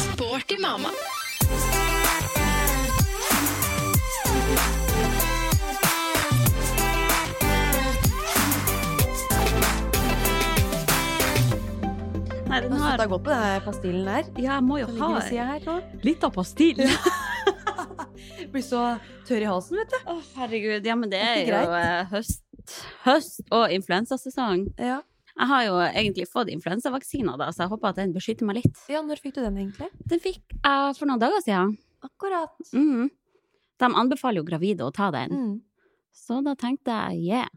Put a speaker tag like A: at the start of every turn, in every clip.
A: Sporty mamma.
B: Nei, den
C: Har
B: har
C: du gått på den pastillen der?
B: Ja, jeg må jo
C: Som ligger
B: ha
C: ved siden her nå?
B: litt av pastill.
C: Blir så tørr i halsen, vet du.
B: Å, herregud. Ja, men det er
C: Det er
B: jo
C: ikke
B: eh, høst, høst og influensasesong.
C: Ja.
B: Jeg har jo egentlig fått influensavaksina, da, så jeg håper at den beskytter meg litt.
C: ja, når fikk du den egentlig?
B: Den fikk jeg for noen dager siden.
C: Akkurat.
B: Mhm. De anbefaler jo gravide å ta den,
C: Mm-hmm. Mm.
B: så da tenkte jeg yeah.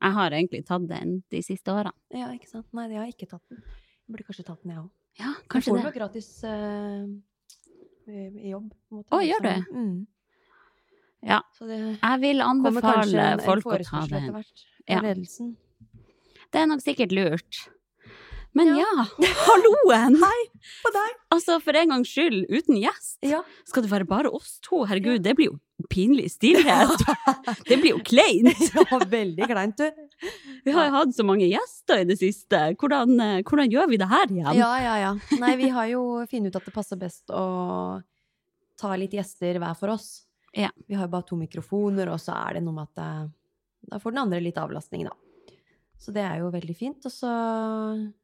B: Jeg har egentlig tatt den de siste årene.
C: Ja, ikke sant. Nei, jeg har ikke tatt den. Jeg burde kanskje tatt den, jeg òg.
B: Ja,
C: Jeg
B: kanskje
C: får den jo
B: det.
C: gratis eh, i i jobb. på en måte,
B: Å, gjør
C: liksom. Mm.
B: Ja.
C: Så det
B: Jeg vil
C: kommer kanskje
B: anbefale
C: en, en
B: folk å ta
C: forespørsel etter
B: den.
C: hvert.
B: Ja.
C: Ja. Ledelsen.
B: Det er nok sikkert lurt. Men
C: Ja.
B: ja, halloen! Hei
C: på deg.
B: Altså, for en gangs skyld, uten gjest.
C: Ja.
B: Skal det være bare oss to? Herregud, det blir jo pinlig stillhet. Det blir jo kleint.
C: ja, veldig kleint, du.
B: Vi har jo hatt så mange gjester i det siste. Hvordan, eh, hvordan gjør vi det her igjen?
C: Ja, ja, ja. Nei, vi har jo funnet ut at det passer best å ta litt gjester hver for oss.
B: Ja.
C: Vi har jo bare to mikrofoner, og så er det noe med at eh, da får den andre litt avlastning, da. Så det er jo veldig fint. Og så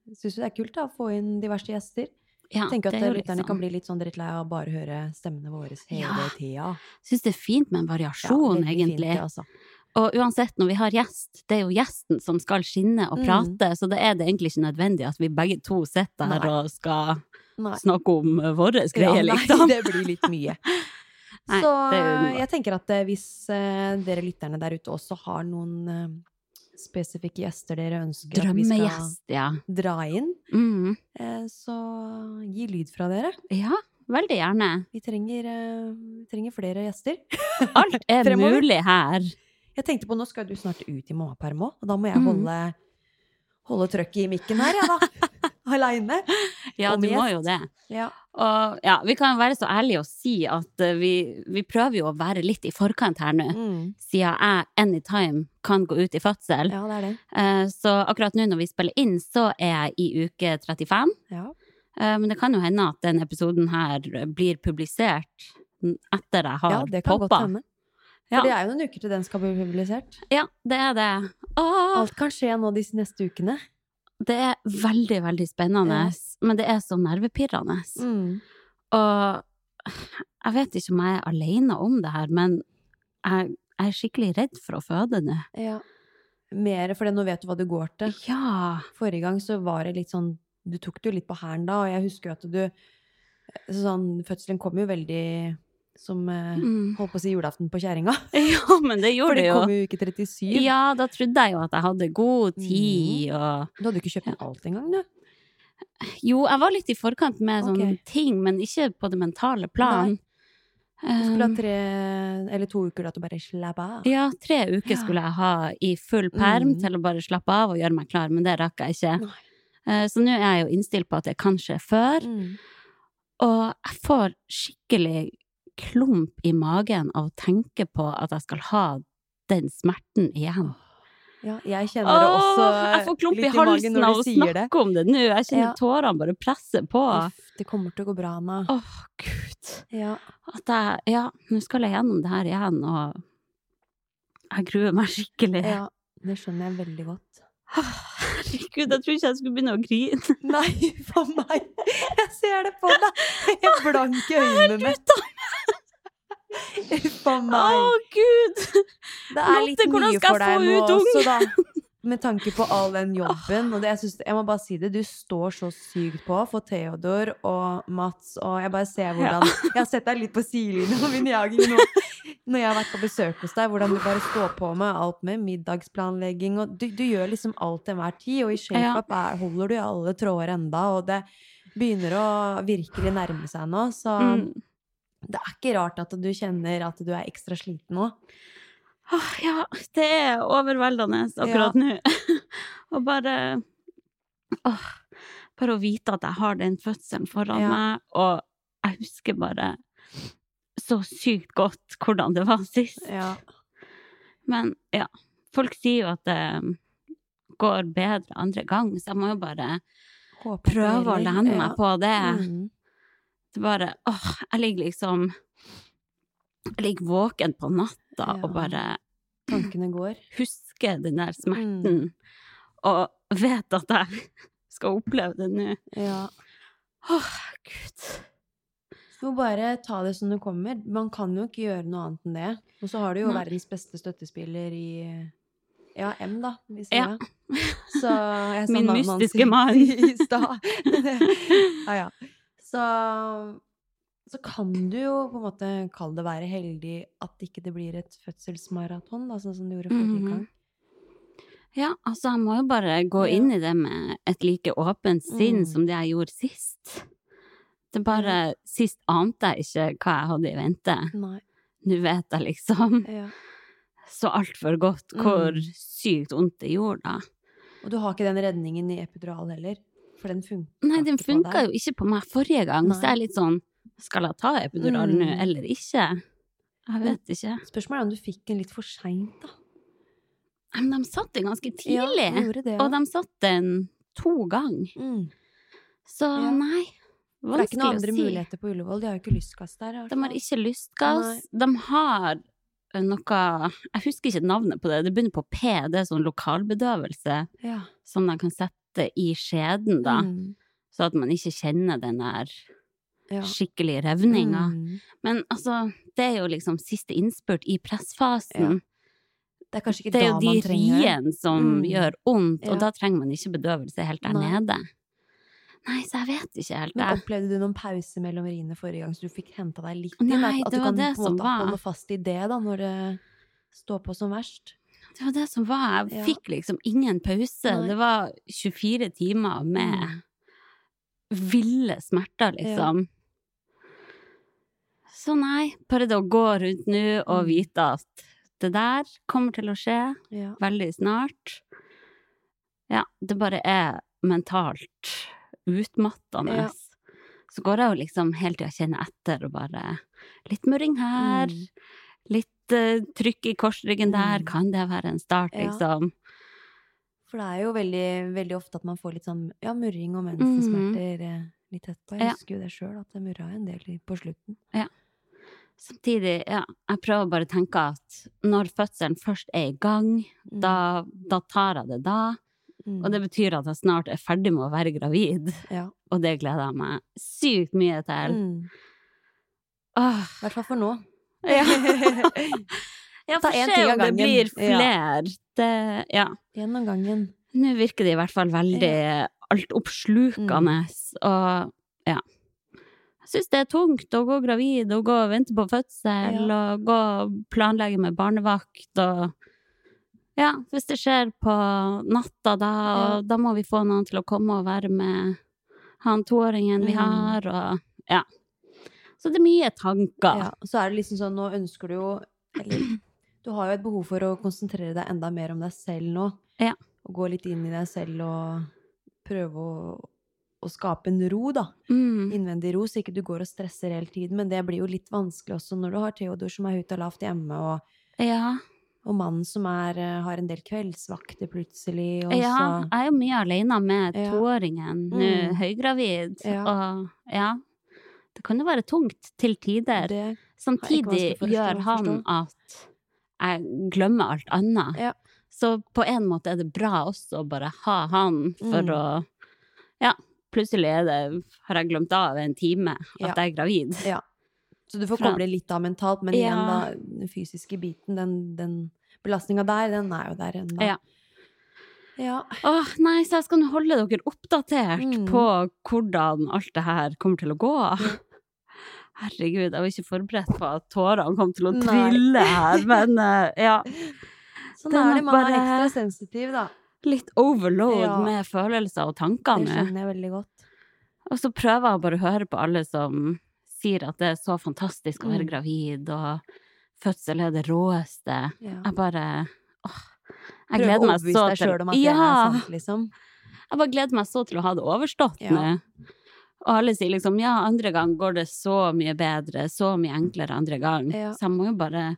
C: syns vi det er kult da, å få inn diverse gjester.
B: Ja,
C: Tenker
B: det
C: at
B: er jo litt
C: lytterne
B: sånn.
C: kan bli litt sånn drittlei av å bare høre stemmene våre hele
B: Ja.
C: tida.
B: Syns det er fint med en variasjon,
C: veldig fint,
B: egentlig.
C: det, altså.
B: Og uansett, når vi har gjest, det er jo gjesten som skal skinne og
C: Mm.
B: prate, så det er det egentlig ikke nødvendig at vi begge to sitter her
C: Nei.
B: og skal
C: Nei.
B: snakke om eh, våre greier,
C: Ja, nei,
B: liksom.
C: det blir litt mye.
B: Nei,
C: så
B: det er jo noe.
C: jeg tenker at eh, hvis eh, dere lytterne der ute også har noen eh, spesifikke gjester dere ønsker at
B: Drømmegjest, ja.
C: vi skal dra inn,
B: Mm.
C: eh, så gi lyd fra dere.
B: Ja, veldig gjerne.
C: Vi trenger, eh, vi trenger flere gjester.
B: Alt er
C: Fremover.
B: mulig her.
C: Jeg tenkte på, nå skal du snart ut i mammaperm òg, og da må jeg
B: Mhm.
C: holde, holde trøkket i mikken her, jeg, da. Aleine.
B: Ja,
C: Om
B: du må
C: gjest.
B: jo det.
C: Ja.
B: Og ja, vi kan være så ærlige og si at eh, vi, vi prøver jo å være litt i forkant her nå,
C: Mm.
B: siden jeg anytime kan gå ut i fødsel.
C: ja, det er det.
B: Eh, Så akkurat nå når vi spiller inn, så er jeg i uke 35.
C: Ja.
B: Eh, Men det kan jo hende at denne episoden her blir publisert n- etter jeg
C: ja,
B: har
C: det kan godt
B: poppa.
C: hende. For
B: Ja.
C: det er jo noen uker til den skal bli publisert.
B: Ja, det er det. Åh,
C: Alt kan skje nå de neste ukene.
B: det er veldig, veldig spennende. Men det er så nervepirrende.
C: Mm.
B: Mm, Og jeg vet ikke om jeg er alene om det her, men jeg, jeg er skikkelig redd for å føde nå.
C: Ja. Mer, for nå vet du hva du går til.
B: Ja.
C: Forrige gang så var det litt sånn Du tok det jo litt på hæren da, og jeg husker jo at du sånn, Fødselen kom jo veldig som eh,
B: Mm.
C: Holdt på å si julaften på kjerringa.
B: Ja, men det
C: For
B: gjorde
C: det
B: det jo.
C: kom jo i uke 37.
B: Ja, da trodde jeg jo at jeg hadde god tid, og
C: Du hadde jo ikke kjøpt inn alt engang, du.
B: Jo, jeg var litt i forkant med sånne
C: Ok.
B: ting, men ikke på det mentale plan.
C: Du skulle
B: Um,
C: ha tre eller to uker da til å bare slapp av.
B: ja, tre uker
C: Ja.
B: skulle jeg ha i full perm
C: Mm.
B: til å bare slappe av og gjøre meg klar, men det rakk jeg ikke.
C: Nei.
B: Eh, Så nå er jeg jo innstilt på at det kan skje før,
C: Mm.
B: og jeg får skikkelig klump i magen av å tenke på at jeg skal ha den smerten igjen.
C: Ja, jeg kjenner det også
B: Åh, jeg får klump
C: litt
B: i halsen
C: magen når
B: av
C: du
B: å
C: sier
B: snakke
C: det.
B: om det nå. Jeg kjenner
C: Ja.
B: tårene bare presse på. Åh,
C: Uff, det kommer til å gå bra, Anna.
B: gud.
C: Ja.
B: at jeg, ja, nå skal jeg gjennom det her igjen, og jeg gruer meg skikkelig.
C: ja. Det skjønner jeg veldig godt.
B: Herregud, jeg tror ikke jeg skulle begynne å grine.
C: Nei, for meg. Jeg ser det på deg. Jeg blank i øynene. For
B: Å,
C: meg.
B: gud!
C: Det er litt
B: Lotte, hvordan
C: mye
B: skal
C: for
B: jeg
C: deg
B: få
C: nå
B: ut
C: også, da. Med tanke på all den jobben. Og det, jeg, synes, jeg må bare si det, du står så sykt på for Theodor og Mats, og jeg bare ser hvordan Jeg har sett deg litt på sidelinjen av min jaging nå. Når jeg har vært på besøk hos deg, hvordan du bare står på med alt med middagsplanlegging og Du, du gjør liksom alt til enhver tid, og i shape-up er- holder du i alle tråder enda, og det begynner å virkelig nærme seg nå, så
B: Mm.
C: det er ikke rart at du kjenner at du er ekstra sliten nå.
B: Åh, ja, det er overveldende akkurat nå. og bare åh, Bare å vite at jeg har den fødselen foran
C: Ja.
B: meg, og jeg husker bare så sykt godt hvordan det var sist.
C: Ja.
B: Men ja, folk sier jo at det går bedre andre gang, så jeg må jo bare
C: Håper det
B: prøve å
C: gjelder.
B: lene meg
C: Ja.
B: på det.
C: Mm.
B: Det bare åh, jeg ligger liksom Jeg ligger våken på natta
C: Ja.
B: og bare
C: Tankene går.
B: husker den der smerten,
C: Mm.
B: og vet at jeg skal oppleve det nå.
C: Ja.
B: Åh, gud.
C: Du må bare ta det som det kommer. Man kan jo ikke gjøre noe annet enn det. Og så har du jo
B: Nei.
C: verdens beste støttespiller i ja, M, da. Hvis
B: Ja.
C: jeg- Så jeg sa
B: Min
C: navnet hans
B: mystiske mann.
C: i stad. ja, ja. Så, så kan du jo på en måte kalle det være heldig at ikke det blir et fødselsmaraton, da, sånn som du gjorde forrige
B: Mhm.
C: gang.
B: Ja, altså, jeg må jo bare gå
C: Ja.
B: inn i det med et like åpent sinn
C: Mm.
B: som det jeg gjorde sist. Det bare Sist ante jeg ikke hva jeg hadde i vente.
C: Nei.
B: Nå vet jeg liksom
C: Ja.
B: så altfor godt hvor
C: Mm.
B: sykt vondt det gjorde da.
C: Og du har ikke den redningen i epidural heller? For den funka
B: Nei, den
C: ikke på
B: funka
C: deg.
B: jo ikke på meg forrige gang, så
C: Nei.
B: jeg er litt sånn Skal jeg ta epidural nå,
C: Mm.
B: eller ikke? Jeg vet ikke.
C: Spørsmålet er om du fikk den litt for seint, da.
B: Men de satt den ganske
C: Ja,
B: tidlig,
C: du gjorde det, ja.
B: og de satt den to ganger.
C: Mm.
B: Så
C: Ja.
B: nei,
C: For det er
B: vanskelig
C: ikke
B: å
C: noen andre
B: si.
C: muligheter på Ullevål. De har jo ikke lystgass der. i hvert
B: De har
C: fall.
B: ikke lystgass. De har ø, noe Jeg husker ikke navnet på det, det begynner på P, det er sånn lokalbedøvelse
C: ja.
B: som de kan sette i skjeden, da,
C: Mm.
B: så at man ikke kjenner den der
C: Ja.
B: skikkelig revninga.
C: Mm.
B: Men altså, det er jo liksom siste innspurt i pressfasen.
C: Det er kanskje ikke
B: Det er
C: da
B: jo de
C: man trenger det.
B: riene som
C: Mm.
B: gjør vondt,
C: Ja.
B: og da trenger man ikke bedøvelse helt der
C: Nei.
B: nede. Nei, så jeg vet ikke helt.
C: Men
B: Jeg.
C: opplevde du noen pause mellom riene forrige gang, så du fikk henta deg litt inn?
B: Nei, det
C: at du
B: var
C: kan
B: det
C: på en
B: som
C: måte
B: var.
C: holde fast i det da, når det står på som verst?
B: Det var det som var. Jeg
C: Ja.
B: fikk liksom ingen pause.
C: Nei.
B: Det var 24 timer med
C: Mm.
B: ville smerter, liksom. Så nei, bare det å gå rundt nå og
C: Mm.
B: vite at det der kommer til å skje.
C: Ja.
B: veldig snart. Ja, det bare er mentalt utmattende.
C: Ja.
B: Så går jeg jo liksom hele tida og kjenner etter og bare Litt murring her,
C: Mm.
B: litt eh, trykk i korsryggen der,
C: Mm.
B: kan det være en start,
C: Ja.
B: liksom?
C: For det er jo veldig, veldig ofte at man får litt sånn ja, murring og mensensmerter eh, litt etterpå. Jeg
B: Mhm. Ja.
C: husker jo det sjøl, at det murra en del i- på slutten.
B: Samtidig, ja, jeg prøver bare å tenke at når fødselen først er i gang,
C: Mm.
B: da, da tar jeg det da.
C: Mm.
B: Og det betyr at jeg snart er ferdig med å være gravid,
C: ja.
B: og det gleder jeg meg sykt mye til.
C: mm.
B: Åh,
C: I hvert fall for nå.
B: Ja. Ja,
C: Ta
B: for
C: en
B: se
C: ting av
B: om det
C: gangen.
B: blir
C: Ja.
B: flere. Det, ja.
C: Én om gangen.
B: Nå virker det i hvert fall veldig
C: Mm.
B: altoppslukende. Og ja. Jeg syns det er tungt å gå gravid og gå og vente på fødsel og gå og planlegge med barnevakt og Ja, hvis det skjer på natta, da, og da må vi få noen til å komme og være med han toåringen vi
C: Mm.
B: har, og ja. Så det er mye tanker.
C: Ja, så er det liksom sånn, nå ønsker du jo eller, Du har jo et behov for å konsentrere deg enda mer om deg selv nå.
B: Ja.
C: Og gå litt inn i deg selv og prøve å, å skape en ro, da.
B: Mm.
C: Innvendig ro, så ikke du går og stresser hele tiden. Men det blir jo litt vanskelig også når du har Theodor som er høyt og lavt hjemme, og,
B: ja.
C: og mannen som er, eh, har en del kveldsvakter plutselig, og
B: Ja,
C: så
B: jeg er jo mye alene med
C: Ja.
B: toåringen nå,
C: Mm.
B: høygravid.
C: Ja.
B: Og ja, det kan jo være tungt til tider.
C: det,
B: Samtidig
C: vanskelig for å
B: gjør
C: forstå-
B: han at jeg glemmer alt annet.
C: Ja.
B: Så på en måte er det bra også å bare ha han for
C: Mm.
B: å Ja, plutselig er det, har jeg glemt av en time at
C: Ja.
B: jeg er gravid.
C: Ja. Så du får
B: Fra-
C: koble litt av mentalt, men
B: Ja.
C: igjen, da, den fysiske biten, den, den belastninga der, den er jo der ennå.
B: Ja.
C: Ja.
B: Åh, nei, så jeg skal nå holde dere oppdatert
C: Mm.
B: på hvordan alt det her kommer til å gå. Herregud, jeg var ikke forberedt på at tårene kom til å
C: Nei.
B: trille her, men eh, ja.
C: Sånn
B: Den
C: er
B: er
C: det. Man er
B: bare-
C: ekstra sensitiv, da.
B: Litt overload
C: Ja.
B: med følelser og
C: Det
B: tanker nå.
C: skjønner jeg veldig godt.
B: Og så prøver jeg bare å høre på alle som sier at det er så fantastisk å være
C: Mm.
B: gravid, og fødsel er det råeste.
C: Ja.
B: Jeg bare åh, jeg
C: Prøve å
B: gleder meg så
C: overbevise deg
B: til
C: sjøl om at
B: ja,
C: det er sant, liksom.
B: Jeg bare gleder meg så til å ha det overstått
C: Ja.
B: nå. Og alle sier liksom ja, andre gang går det så mye bedre, så mye enklere andre gang.
C: Ja.
B: Så jeg må jo bare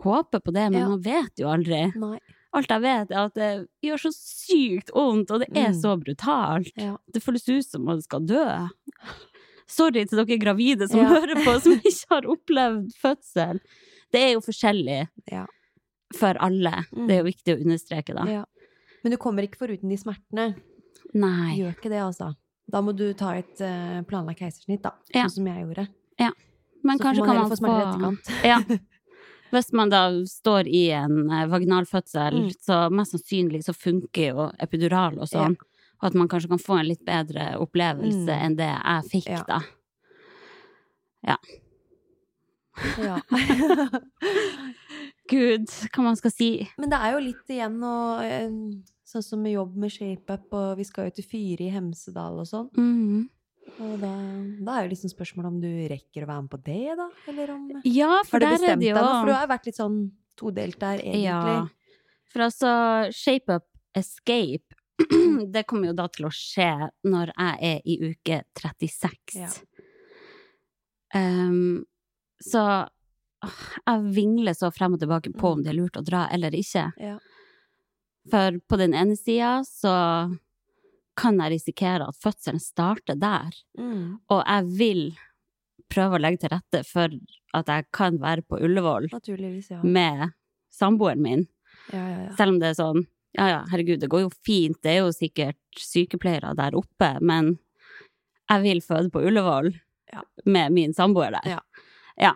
B: håpe på det, men
C: Ja.
B: man vet jo aldri.
C: Nei.
B: Alt jeg vet, er at det gjør så sykt vondt, og det er
C: Mm.
B: så brutalt.
C: Ja.
B: Det føles ut som om du skal dø. Sorry til dere gravide som
C: Ja.
B: hører på, som ikke har opplevd fødsel. Det er jo forskjellig
C: Ja.
B: for alle.
C: Mm.
B: Det er jo viktig å understreke, da.
C: Ja. Men du kommer ikke foruten de smertene.
B: Nei.
C: Gjør ikke det, altså. Da må du ta et eh, planlagt keisersnitt, da.
B: Ja.
C: Sånn som jeg gjorde.
B: Men
C: Så
B: kanskje
C: får
B: kan man
C: man heller få smerter i
B: få
C: etterkant.
B: Ja. Hvis man da står i en eh, vaginal fødsel,
C: Mm.
B: så mest sannsynlig så funker jo epidural og sånn. Og at man kanskje kan få en litt bedre opplevelse
C: Mm.
B: enn det jeg fikk,
C: Ja.
B: da.
C: Ja.
B: Gud, hva man skal si.
C: Men det er jo litt igjen å eh, Sånn som med jobb med ShapeUp, og vi skal jo til Fyre i Hemsedal og sånn.
B: Mhm.
C: Og da, da er jo liksom spørsmålet om du rekker å være med på det, da? Eller om
B: Ja, for
C: Har du
B: der er
C: bestemt
B: det
C: deg
B: jo
C: nå? For du har jo vært litt sånn todelt der, egentlig.
B: Ja. For altså, Shape Up Escape Det kommer jo da til å skje når jeg er i uke 36.
C: Ja.
B: Ehm, så åh, jeg vingler så frem og tilbake på om
C: Mm.
B: det er lurt å dra eller ikke.
C: Ja.
B: For på den ene sida så kan jeg risikere at fødselen starter der.
C: Mm.
B: Og jeg vil prøve å legge til rette for at jeg kan være på Ullevål
C: Naturligvis, ja.
B: med samboeren min.
C: ja, ja, ja.
B: Selv om det er sånn, ja ja, herregud, det går jo fint, det er jo sikkert sykepleiere der oppe, men jeg vil føde på Ullevål
C: Ja.
B: med min samboer der.
C: Ja.
B: Ja.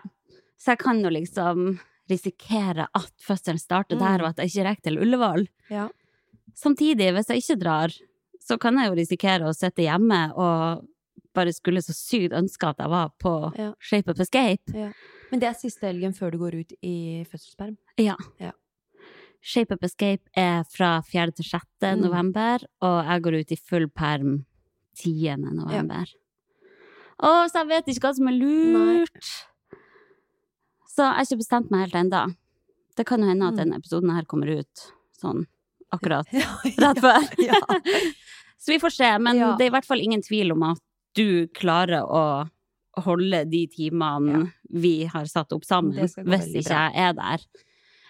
B: Så jeg kan jo liksom risikere at fødselen starter
C: Mm.
B: der, og at jeg ikke rekker til Ullevål.
C: Ja.
B: Samtidig, hvis jeg ikke drar, så kan jeg jo risikere å sitte hjemme og bare skulle så sykt ønske at jeg var på
C: Ja.
B: Shape Up Escape.
C: Men det er siste helgen før du går ut i fødselsperm.
B: Shape Up Escape er fra 4. til 6.
C: Mm.
B: november, og jeg går ut i full perm 10. november. Å, så jeg vet ikke hva som er lurt! Så jeg har ikke bestemt meg helt ennå. Det kan jo hende at
C: Mm.
B: denne episoden her kommer ut sånn akkurat
C: Ja,
B: rett før.
C: Ja.
B: Så vi får se, men
C: Ja.
B: det er i hvert fall ingen tvil om at du klarer å holde de timene vi har satt opp sammen,
C: Det
B: hvis
C: skal gå veldig
B: ikke jeg er der.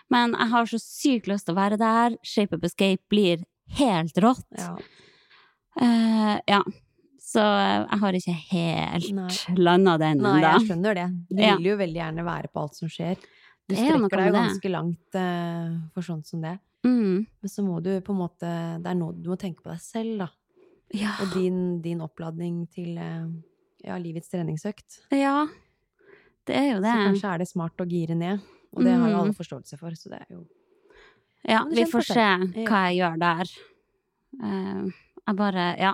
B: Men jeg har så sykt lyst til å være der. Shape Up Escape blir helt rått.
C: ja.
B: Eh, ja. Så eh, jeg har ikke helt
C: Nei.
B: landa den
C: Nei, jeg
B: ennå.
C: skjønner det. Du
B: Ja.
C: vil jo veldig gjerne være på alt som skjer. Du
B: Det er jo noe
C: strekker deg
B: med
C: jo
B: det.
C: ganske langt eh, for sånt som det.
B: Mm.
C: Men så må du på en måte Det er nå du må tenke på deg selv, da.
B: Ja.
C: Og din, din oppladning til eh, ja, livets treningsøkt.
B: ja. Det er jo
C: Så
B: det.
C: kanskje er det smart å gire ned. Og det har jo
B: Mm.
C: alle forståelse for, så det er jo
B: Ja,
C: Men
B: vi
C: kjenn på
B: får se
C: selv. Ja.
B: hva jeg gjør der. Eh, jeg bare, ja.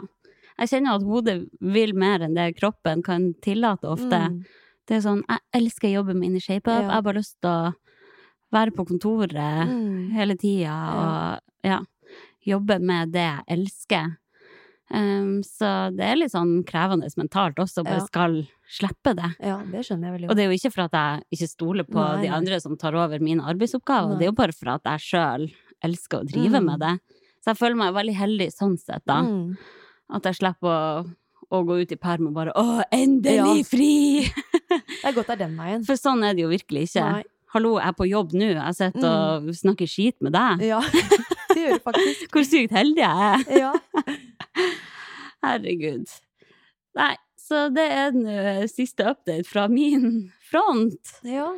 B: Jeg kjenner at hodet vil mer enn det kroppen kan tillate ofte.
C: Mm.
B: Det er sånn, jeg elsker jobben min i ShapeUp.
C: Ja.
B: Jeg har bare lyst til å være på kontoret
C: Mm.
B: hele tida og ja, jobbe med det jeg elsker. Ehm, så det er litt sånn krevende mentalt også, bare
C: Ja.
B: skal slippe det.
C: Ja, det skjønner jeg veldig
B: Og
C: godt.
B: det er jo ikke for at jeg ikke stoler på
C: Nei,
B: de
C: nei.
B: andre som tar over mine arbeidsoppgaver,
C: Nei.
B: det er jo bare for at jeg sjøl elsker å drive
C: Mm.
B: med det. Så jeg føler meg veldig heldig sånn sett, da.
C: Mm.
B: At jeg slipper å, å gå ut i perm og bare 'Å, endelig
C: Ja.
B: fri!'
C: Det er godt det er den veien.
B: for sånn er det jo virkelig ikke.
C: Nei. Mm.
B: Hallo, jeg er på jobb nå, jeg sitter og snakker skit med deg.
C: Ja, det gjør det faktisk.
B: Hvor sykt heldig jeg er!
C: Ja.
B: Herregud. Nei, så det er nå siste update fra min front.
C: ja.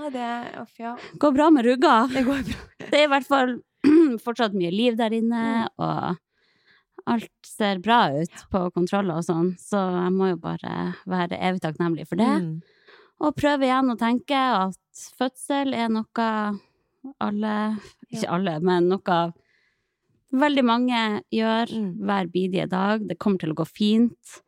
C: Nei, det Uff, ja.
B: Går bra med rugga.
C: Det går bra.
B: det er i hvert fall fortsatt mye liv der inne, og alt ser bra ut på kontroller og sånn, så jeg må jo bare være evig takknemlig for det.
C: Mm.
B: Og prøve igjen å tenke at fødsel er noe alle Ikke
C: Ja.
B: alle, men noe veldig mange gjør
C: Mm.
B: hver bidige dag. Det kommer til å gå fint.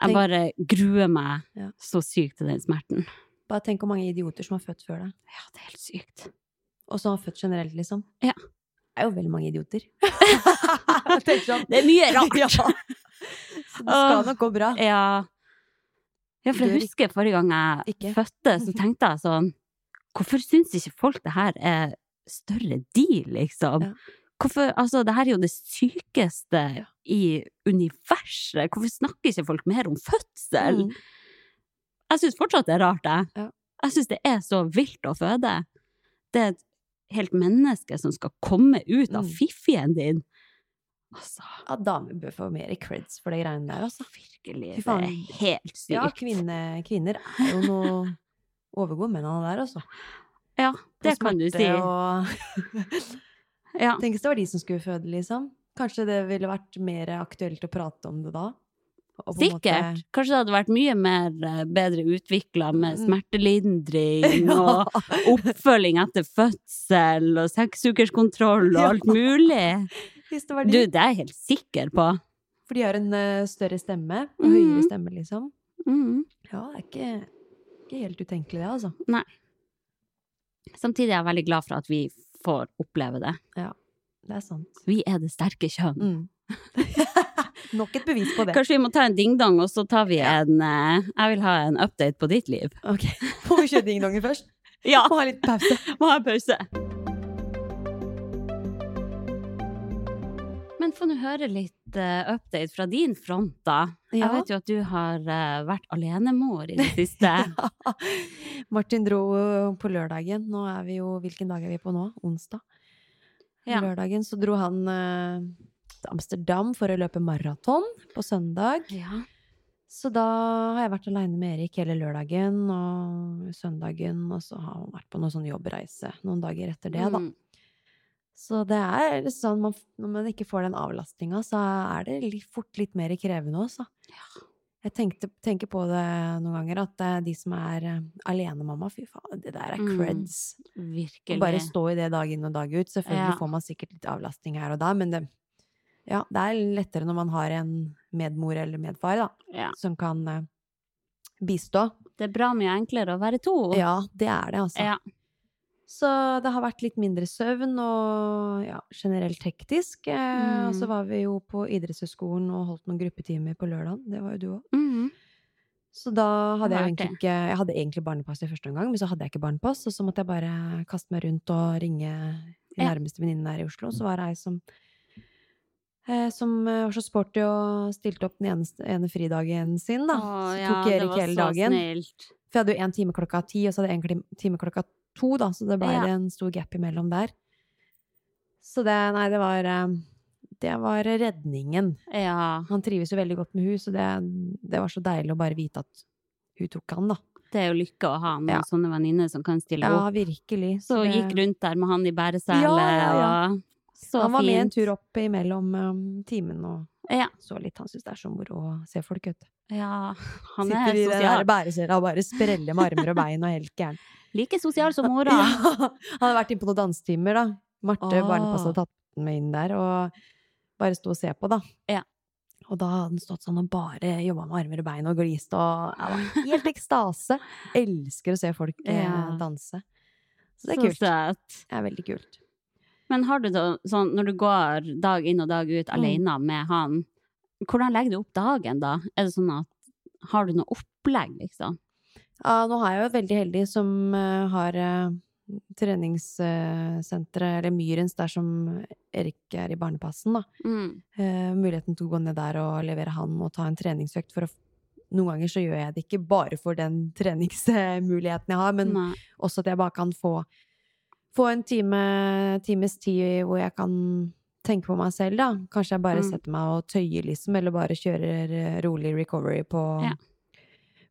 B: Jeg
C: Tenk-
B: bare gruer meg
C: Ja.
B: så sykt til den smerten.
C: Bare tenk hvor mange idioter som har født før deg.
B: Ja, det er helt sykt.
C: Og som har født generelt, liksom.
B: Ja.
C: Det er jo veldig mange idioter.
B: det
C: Tenk sånn.
B: er mye rart.
C: Ja. Så det skal nok gå bra.
B: Ja. ja, for
C: Gjør
B: jeg husker forrige gang jeg
C: Ikke.
B: fødte, så tenkte jeg sånn Hvorfor syns ikke folk det her er større deal, liksom?
C: Ja.
B: Hvorfor, altså, det her er jo det sykeste i universet. Hvorfor snakker ikke folk mer om fødsel?
C: Mm.
B: Jeg syns fortsatt det er rart, jeg.
C: Ja.
B: Jeg syns det er så vilt å føde. Det er et helt menneske som skal komme ut av
C: Mm.
B: fiffien din. Altså,
C: Ja, damer bør få mer creds for de greiene der, altså.
B: virkelig. Det
C: Fy
B: er
C: faen.
B: helt sykt.
C: Ja, kvinne, kvinner er jo noe overgode mennene der, altså.
B: Ja,
C: På
B: det kan du
C: smerte
B: si.
C: Og...
B: Ja.
C: Tenk hvis det var de som skulle føde, liksom. Kanskje det ville vært mer aktuelt å prate om det da? Og på en måte-
B: Sikkert. Kanskje det hadde vært mye mer, eh, bedre utvikla med
C: Mm.
B: smertelindring og
C: Ja.
B: oppfølging etter fødsel og seksukerskontroll og alt
C: Ja.
B: mulig.
C: Hvis det var
B: Du,
C: de.
B: det er jeg helt sikker på.
C: For de har en eh, større stemme. og
B: Mhm.
C: Høyere stemme, liksom.
B: Mm.
C: Ja, det er ikke, ikke helt utenkelig, det, altså.
B: Samtidig er jeg veldig glad for at vi får oppleve det.
C: Det er sant.
B: Vi er det sterke kjønn.
C: Mm. Nok et bevis på det.
B: Kanskje vi må ta en dingdong, og så tar vi en eh, Jeg vil ha en update på ditt liv.
C: Ok, Får vi kjøre dingdongen først?
B: Ja,
C: Må ha litt pause.
B: må ha en pause. Men få nå høre litt eh, update fra din front, da.
C: Ja.
B: Jeg vet jo at du har eh, vært alenemor i det siste.
C: Martin dro eh, på lørdagen. Nå er vi jo, Hvilken dag er vi på nå? Onsdag.
B: Ja.
C: Lørdagen så dro han eh, til Amsterdam for å løpe maraton på søndag.
B: Ja.
C: Så da har jeg vært aleine med Erik hele lørdagen og søndagen. Og så har han vært på noen sånn jobbreise noen dager etter det, da.
B: Mm.
C: Så det er sånn, man, når man ikke får den avlastninga, så er det litt, fort litt mer krevende også. Jeg tenkte, tenker på det noen ganger, at eh, de som er eh, alenemamma, fy faen, det der er
B: Mm,
C: creds. Å
B: Virkelig.
C: Bare stå i det dag inn og dag ut. Selvfølgelig
B: Ja.
C: får man sikkert litt avlastning her og der, men det, ja, det er lettere når man har en medmor eller medfar da,
B: Ja.
C: som kan eh, bistå.
B: Det er bra mye enklere å være to.
C: Ja, det er det, altså.
B: Ja.
C: Så det har vært litt mindre søvn og ja, generelt hektisk. Eh, Og
B: Mm.
C: så var vi jo på idrettshøyskolen og holdt noen gruppetimer på lørdagen. Det var jo du òg.
B: Mhm.
C: Så da
B: Vært
C: hadde jeg jo
B: det.
C: egentlig ikke Jeg hadde egentlig barnepass i første omgang, men så hadde jeg ikke barnepass, og så måtte jeg bare kaste meg rundt og ringe de
B: Ja.
C: nærmeste venninnene her i Oslo. Så var det ei som eh, som eh, var så sporty og stilte opp den ene, ene fridagen sin, da.
B: Å,
C: så
B: ja,
C: tok
B: det
C: Erik
B: var
C: hele
B: så
C: dagen.
B: Snilt.
C: For jeg hadde jo én time klokka ti, og så hadde jeg én time klokka to, da, så det ble
B: Ja.
C: en stor gap imellom der. Så det, nei, det var eh, Det var redningen.
B: Ja,
C: Han trives jo veldig godt med hun, så det, det var så deilig å bare vite at hun tok han, da.
B: det er jo lykke å ha noen
C: Ja.
B: sånne venninner som kan stille
C: Ja,
B: opp.
C: virkelig.
B: Så
C: det-
B: gikk rundt der med han i bæresele,
C: Ja, ja, ja.
B: og så
C: han var med en
B: fint.
C: tur opp imellom um, timen og
B: Ja.
C: så litt. Han syns det er så moro å se folk, vet du.
B: Ja, han
C: Sitter
B: er
C: i den der
B: sosial.
C: bæresela og bare spreller med armer og bein og er helt gæren.
B: Like sosial som mora.
C: Ja, han hadde vært inne på noen dansetimer, da. Marte,
B: Åh.
C: barnepasset, hadde tatt med inn der og bare sto og se på, da.
B: Ja.
C: Og da hadde han stått sånn og bare jobba med armer og bein og glist og jeg var helt ekstase. Elsker å se folk eh,
B: Ja.
C: danse. Så det
B: Så
C: er kult.
B: søt.
C: Det er veldig kult.
B: Men har du da, sånn, når du går dag inn og dag ut
C: Mm.
B: alene med han, hvordan legger du opp dagen da? Er det sånn at har du noe opplegg, liksom?
C: Ja, nå har jeg jo et veldig heldig som eh, har uh, treningssenteret, eller Myrens, der som Erik er i barnepassen, da. Eh, muligheten til å gå ned der og levere han og ta en treningsøkt for å f- Noen ganger så gjør jeg det ikke bare for den treningsmuligheten jeg har, men
B: Nei.
C: også at jeg bare kan få, få en time, times tid hvor jeg kan tenke på meg selv, da. Kanskje jeg bare
B: Mm.
C: setter meg og tøyer, liksom, eller bare kjører eh, rolig recovery på,
B: Ja.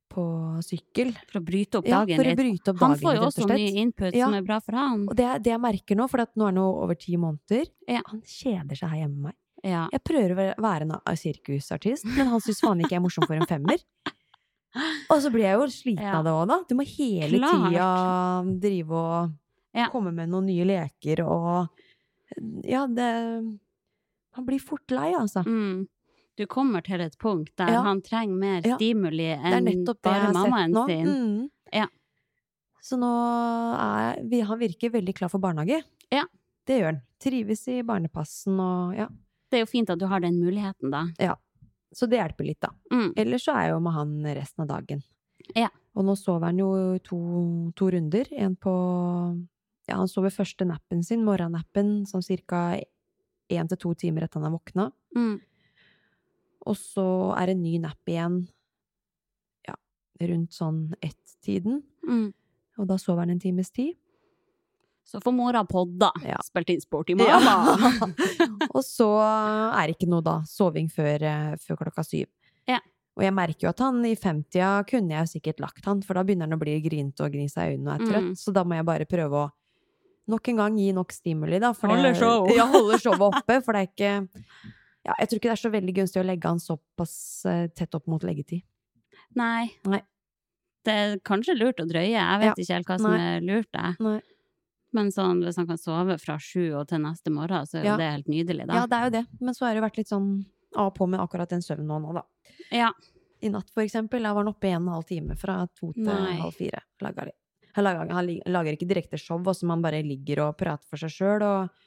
C: på sykkel.
B: For å bryte opp
C: Ja,
B: dagen
C: for å
B: litt.
C: bryte opp
B: Han
C: dagen,
B: får jo
C: rett
B: også
C: og
B: mye
C: slett.
B: input
C: Ja.
B: som er bra for han.
C: Og det er det jeg merker nå, for at nå er det over ti måneder.
B: Ja.
C: Han kjeder seg her hjemme med meg.
B: Ja.
C: Jeg prøver å være- være en a- sirkusartist, men han syns faen ikke jeg er morsom for en femmer. Og så blir jeg jo sliten
B: Ja.
C: av det òg, da. Du må hele
B: Klart.
C: tida drive og
B: Ja.
C: komme med noen nye leker og Ja, det Man blir fort lei, altså.
B: Mm. du kommer til et punkt der
C: Ja.
B: han trenger mer
C: Ja.
B: stimuli
C: Det er
B: enn
C: nettopp det jeg
B: bare
C: har sett
B: mammaen
C: nå.
B: sin.
C: Mm.
B: Ja.
C: Så nå er vi, han virker veldig klar for barnehage.
B: Ja.
C: Det gjør han. Trives i barnepassen og ja.
B: Det er jo fint at du har den muligheten, da.
C: Så det hjelper litt, da.
B: Mm.
C: Ellers så er jeg jo med han resten av dagen.
B: Ja.
C: Og nå sover han jo to, to runder. En på Ja, han sover første nappen sin, morgennappen, sånn cirka én til to timer etter han har våkna.
B: Mm.
C: Og så er det en ny napp igjen ja, rundt sånn ett-tiden.
B: Mm.
C: Og da sover han en times tid.
B: Så får mora podda.
C: Ja.
B: Spilt inn sport i
C: Ja.
B: mamma!
C: og så er det ikke noe da, soving før, eh, før klokka syv.
B: Ja.
C: Og jeg merker jo at han i 50-a kunne jeg jo sikkert lagt han, for da begynner han å bli grinte og gni seg i øynene og er trøtt,
B: Mm.
C: så da må jeg bare prøve å nok en gang gi nok stimuli, da. for
B: Holde
C: det-
B: show.
C: Ja, holde showet oppe, for det er ikke ja, Jeg tror ikke det er så veldig gunstig å legge han såpass eh, tett opp mot leggetid.
B: Nei.
C: Nei.
B: Det er kanskje lurt å drøye, jeg vet
C: Ja.
B: ikke helt hva som
C: Nei.
B: er lurt. Jeg.
C: Nei.
B: Men sånn, hvis han kan sove fra sju og til neste morgen, så er jo
C: Ja.
B: det helt nydelig, da.
C: Ja, det er jo det, men så har det vært litt sånn av og på med akkurat den søvnen nå, nå da.
B: Ja.
C: I natt, for eksempel, da var han oppe i en og en halv time fra to til
B: Nei.
C: halv fire. Lager de. Han lager, han lig- lager ikke direkte show, også, men han bare ligger og prater for seg sjøl og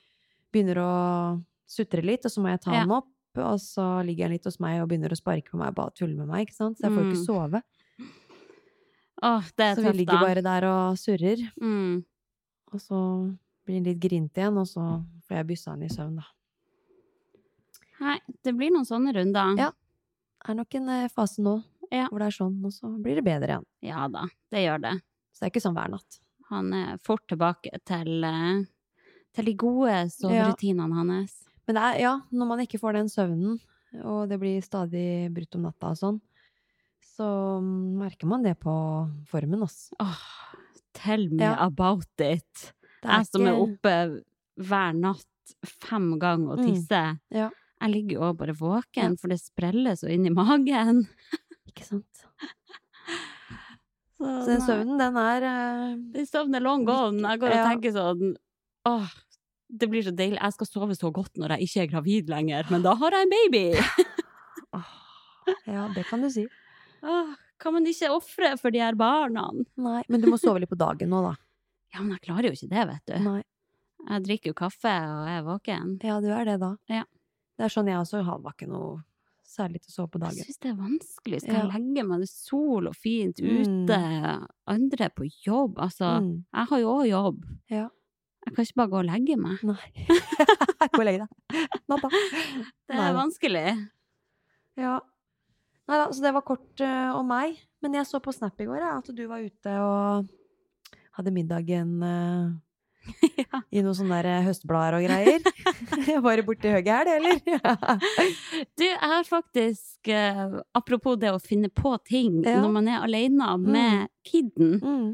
C: begynner å sutre litt, og så må jeg ta
B: Ja.
C: han opp. Og så ligger han litt hos meg og begynner å sparke på meg og bare tulle med meg. ikke sant? Så jeg får jo
B: Mm.
C: ikke sove.
B: Åh, det er
C: Så vi
B: tøft, da.
C: ligger bare der og surrer.
B: Mm.
C: Og så blir han litt grinte igjen, og så får jeg byssa han i søvn, da.
B: Nei, det blir noen sånne runder.
C: Ja. Det er nok en eh, fase nå
B: Ja.
C: hvor det er sånn, og så blir det bedre igjen.
B: Ja da, det gjør det.
C: Så det er ikke sånn hver natt.
B: Han er fort tilbake til, eh, til de gode soverutinene hans.
C: Men det er, ja, når man ikke får den søvnen, og det blir stadig brutt om natta og sånn, så mm, merker man det på formen, altså.
B: Åh, tell me
C: Ja.
B: about it.
C: Det
B: Jeg som er
C: ikke-
B: oppe hver natt fem ganger og
C: Mm.
B: tisser.
C: Ja.
B: Jeg ligger jo bare våken, for det spreller så inn i magen.
C: Ikke sant. Så den søvnen, den er eh,
B: Den søvnen er long gone. Jeg går og
C: Ja.
B: tenker sånn Åh, det blir så deilig. Jeg skal sove så godt når jeg ikke er gravid lenger, men da har jeg en baby!
C: Ja, det kan du si.
B: Åh, kan man ikke ofre for de her barna?
C: Nei, men du må sove litt på dagen nå, da.
B: Ja, men jeg klarer jo ikke det, vet du.
C: Nei.
B: Jeg drikker jo kaffe og er våken.
C: Ja, du er det, da.
B: Ja.
C: Det er sånn jeg også har, var ikke noe særlig til å sove på
B: Jeg
C: dagen.
B: syns det er vanskelig. Skal
C: Ja.
B: jeg legge meg? Det er sol og fint
C: Mm.
B: ute. Andre er på jobb. Altså,
C: Mm.
B: jeg har jo òg jobb.
C: Ja.
B: Jeg kan ikke bare gå og legge meg.
C: Nei. Gå og legg deg. Natta.
B: Det er
C: Neida.
B: vanskelig.
C: Ja. Nei da, så det var kort eh, om meg. Men jeg så på Snap i går ja, at du var ute og hadde middagen eh,
B: Ja.
C: i noen sånne der eh, høstblader og greier. var det borti høyre helg, eller?
B: Du, jeg har faktisk eh, Apropos det å finne på ting
C: Ja.
B: når man er alene med kidden.
C: mm.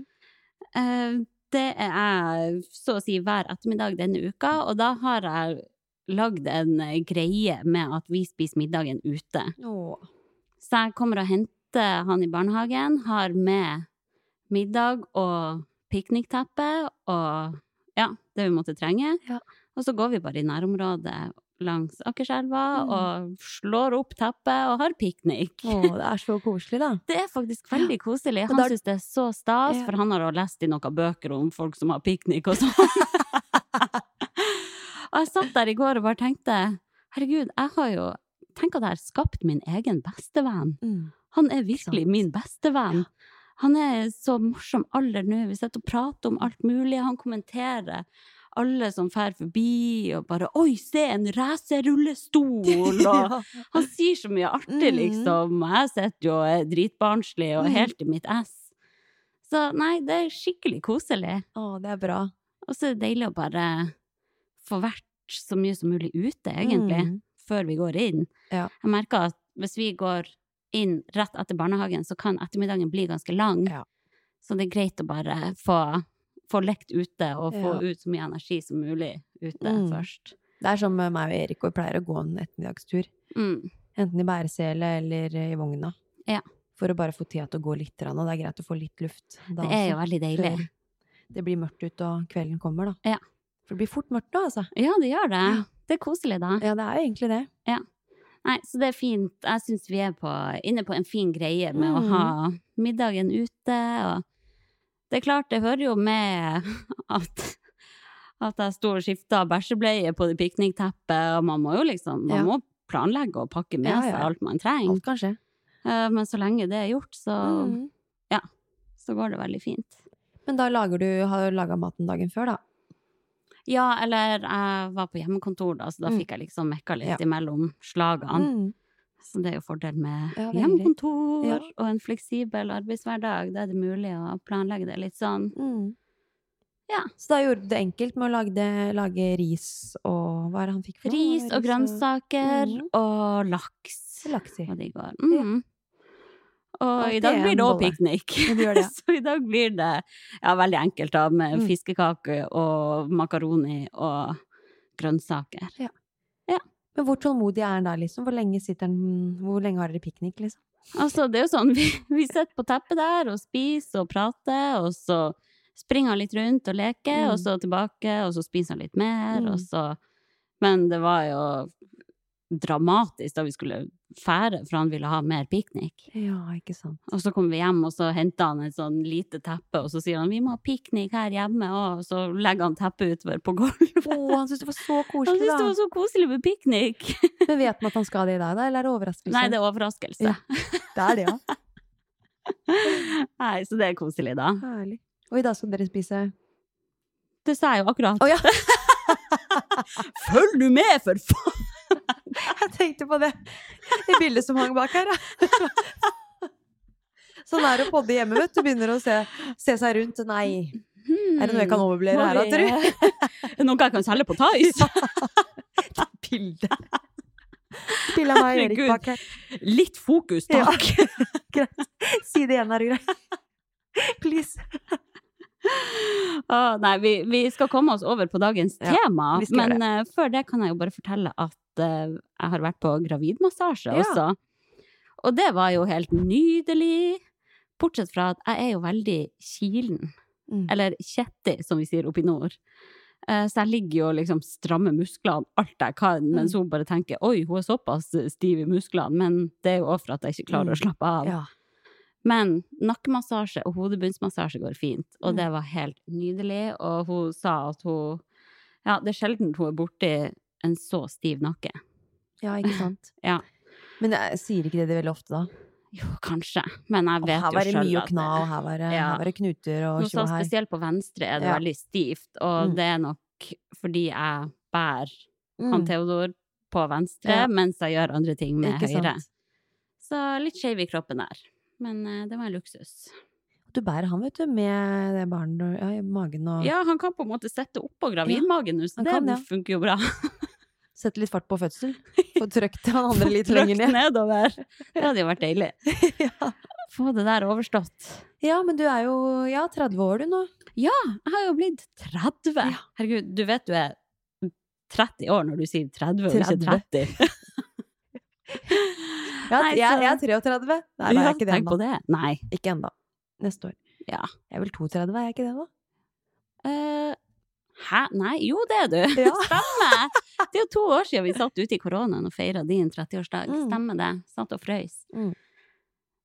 B: Eh, det er jeg så å si hver ettermiddag denne uka, og da har jeg lagd en eh, greie med at vi spiser middagen ute.
C: Åh.
B: Så jeg kommer og henter han i barnehagen, har med middag og piknikteppe og ja, det vi måtte trenge.
C: Ja.
B: Og så går vi bare i nærområdet langs Akerselva
C: Mm.
B: og slår opp teppet og har piknik.
C: Åh, det er så koselig, da.
B: Det er faktisk veldig koselig. Han
C: da-
B: syns det er så stas,
C: Ja.
B: for han har også lest i noen bøker om folk som har piknik og sånn. og jeg satt der i går og bare tenkte, herregud, jeg har jo Tenk at jeg har skapt min egen bestevenn.
C: Mm.
B: Han er virkelig
C: sant?
B: min bestevenn. Han er så morsom alder nå. Vi sitter og prater om alt mulig. Han kommenterer alle som fer forbi, og bare 'oi, se, en
C: Mm.
B: racerrullestol', og
C: Ja.
B: han sier så mye artig,
C: Mhm.
B: liksom. og Jeg sitter jo og er dritbarnslig og
C: Mhm.
B: helt i mitt ess. Så nei, det er skikkelig koselig.
C: Åh, det er bra.
B: Og så er det deilig å bare få vært så mye som mulig ute, egentlig,
C: Mm.
B: før vi går inn.
C: Ja.
B: Jeg merker at hvis vi går inn rett etter barnehagen, så kan ettermiddagen bli ganske lang.
C: Ja.
B: Så det er greit å bare få, få lekt ute og få
C: Ja.
B: ut så mye energi som mulig ute
C: Mm.
B: først.
C: Det er som med meg og Erik, og vi pleier å gå en ettermiddagstur.
B: Mm.
C: Enten i bæresele eller eh, i vogna.
B: Ja.
C: For å bare få tida til å gå litt, grann, og det er greit å få litt luft. da
B: Det er
C: også.
B: jo veldig deilig.
C: før det blir mørkt ut og kvelden kommer, da.
B: Ja.
C: For det blir fort mørkt nå, altså.
B: Ja, det gjør det. Det er koselig, da.
C: Ja, det er jo egentlig det.
B: Nei, så det er fint. Jeg syns vi er på, inne på en fin greie med
C: Mm.
B: å ha middagen ute. Og det er klart, det hører jo med at, at jeg sto og skifta bæsjebleie på det piknikteppet, og man må jo liksom man
C: Ja.
B: må planlegge og pakke med
C: Ja, ja.
B: seg alt man trenger.
C: Alt kan skje.
B: Eh, Men så lenge det er gjort, så,
C: Mm.
B: så går det veldig fint.
C: Men da lager du, har du laga maten dagen før, da?
B: Ja, eller jeg var på hjemmekontor, da, så da
C: Mm.
B: fikk jeg liksom mekka litt
C: Ja.
B: imellom slagene.
C: Mm.
B: Så det er jo fordel med
C: Ja, det er hyggelig.
B: hjemmekontor
C: Ja.
B: og en fleksibel arbeidshverdag. Da er det mulig å planlegge det litt sånn.
C: Mm.
B: Ja.
C: Så da gjorde du det enkelt med å lage, det, lage ris og Hva er det han fikk for noe?
B: Ris og grønnsaker
C: Mm.
B: og laks.
C: Laks i.
B: Og de går. Mm. Og i
C: Alltid
B: dag blir
C: en
B: det òg
C: bolle.
B: piknik.
C: Ja, det gjør det.
B: Så i dag blir det ja, veldig enkelt, da, med
C: Mm.
B: fiskekake og makaroni og grønnsaker.
C: Men hvor tålmodig er han da, liksom? Hvor lenge, sitter han, hvor lenge har dere piknik, liksom?
B: Altså, det er jo sånn, vi, vi sitter på teppet der og spiser og prater, og så springer han litt rundt og leker,
C: Mm.
B: og så tilbake, og så spiser han litt mer,
C: Mm.
B: og så Men det var jo dramatisk da vi skulle fære, for han ville ha mer piknik.
C: Ja, ikke sant.
B: Og så kom vi hjem, og så henta han et sånn lite teppe, og så sier han 'vi må ha piknik her hjemme', og så legger han teppet utover på gulvet.
C: Å, han syntes det var så
B: Han
C: koselig,
B: syntes det var
C: da!
B: så koselig med piknik!
C: Men vet man at han skal det i dag, da? Eller er det overraskelse?
B: Nei, det er overraskelse.
C: Ja. det er det, ja.
B: Nei, så det er koselig, da.
C: Herlig. Og i dag skal dere spise
B: Det sa jeg jo akkurat.
C: Å ja,
B: Følg du med, for faen!
C: jeg tenkte på det! Det bildet som hang bak her, ja. Sånn er det å podde hjemme, vet du. Begynner å se, se seg rundt. Nei. Er det noe jeg kan overblere her, da, tror
B: Er
C: du? eh,
B: det noe jeg kan selge på Tice?
C: Bilde. Bilde av meg og Erik
B: Herregud.
C: bak her.
B: Litt fokus, takk.
C: Si det igjen, er det greit? Please.
B: Å, nei, vi, vi skal komme oss over på dagens
C: Ja,
B: tema,
C: vi skal
B: men eh, før det kan jeg jo bare fortelle at eh, jeg har vært på gravidmassasje
C: Ja.
B: også. Og det var jo helt nydelig, bortsett fra at jeg er jo veldig kilen,
C: Mm.
B: eller kjettig, som vi sier oppe i nord. Eh, Så jeg ligger jo og liksom strammer musklene alt jeg kan,
C: Mm.
B: mens hun bare tenker 'oi, hun er såpass stiv i musklene', men det er jo også for at jeg ikke klarer
C: Mm.
B: å slappe av.
C: Ja.
B: Men nakkemassasje og hodebunnsmassasje går fint, og
C: Mm.
B: det var helt nydelig. Og hun sa at hun Ja, det er sjelden hun er borti en så stiv nakke.
C: Ja, ikke sant?
B: Ja.
C: Men jeg sier ikke det veldig ofte, da.
B: Jo, kanskje, men jeg
C: Og
B: vet
C: her
B: jo
C: var det
B: sjøl
C: mye å
B: at
C: kna, og her var det,
B: Ja.
C: her var det knuter og
B: Hun sa
C: tjo og hei.
B: spesielt på venstre er det
C: Ja.
B: veldig stivt, og
C: Mm.
B: det er nok fordi jeg bærer han
C: Mm,
B: Theodor på venstre
C: Ja.
B: mens jeg gjør andre ting med
C: Mm. ikke sant?
B: høyre. Så litt skeiv i kroppen der. Men eh, det var en luksus.
C: Du bærer han, vet du, med det barnet og ja, i magen og
B: Ja, han kan på en måte sette oppå gravidmagen nå, så
C: han
B: det
C: kan det.
B: funker jo bra.
C: setter litt fart på fødsel. Få trykt han andre litt
B: Få trøkt
C: lenger ned.
B: nedover. Det hadde jo vært deilig.
C: Ja.
B: Få det der overstått.
C: ja, men du er jo ja, 30 år du nå.
B: Jeg har jo blitt 30. Herregud, du vet du er 30 år når du sier 30, og ikke 30.
C: Ja,
B: Nei,
C: jeg, jeg
B: så-
C: er 33. Nei, da er
B: Ja,
C: jeg ikke det
B: tenk på
C: ennå.
B: det. Nei.
C: Ikke ennå. Neste år.
B: Ja.
C: Jeg er vel 32, er jeg ikke det nå?
B: Eh, hæ? Nei, jo det er du.
C: Ja.
B: Stemmer. Det er jo to år siden vi satt ute i koronaen og feira din 30-årsdag.
C: Mm.
B: Stemmer det. Satt og frøys.
C: Mm.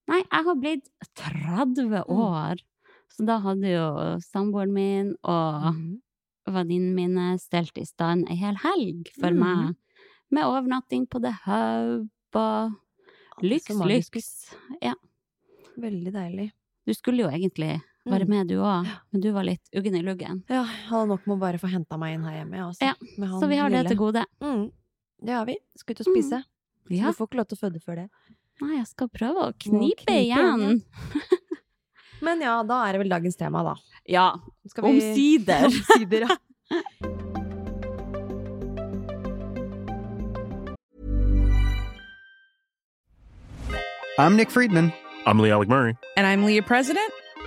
B: Nei, jeg har blitt 30
C: Mm.
B: år. Så da hadde jo samboeren min og
C: Mhm.
B: venninnene mine stelt i stand ei hel helg for
C: Mm.
B: meg, med overnatting på The Hub og lyks,
C: så magisk
B: lyks.
C: Veldig deilig.
B: Du skulle jo egentlig være
C: Mm.
B: med, du òg, men du var litt uggen i luggen.
C: Ja, jeg hadde nok med å bare få henta meg inn her hjemme, jeg, altså.
B: Ja,
C: Med han
B: Så vi har det
C: lille.
B: til gode.
C: Mm. Det har vi. Skal ut og
B: Mm.
C: spise.
B: Ja.
C: Du får ikke lov til å føde før det.
B: Nei, jeg skal prøve å
C: knipe
B: knipe igjen.
C: igjen. Men ja, da er det vel dagens tema, da.
B: Ja,
C: Skal vi-
B: omsider.
C: Omsider, ja.
A: I'm Nick Friedman.
D: I'm Lee Alec Murray.
E: And I'm Leah President,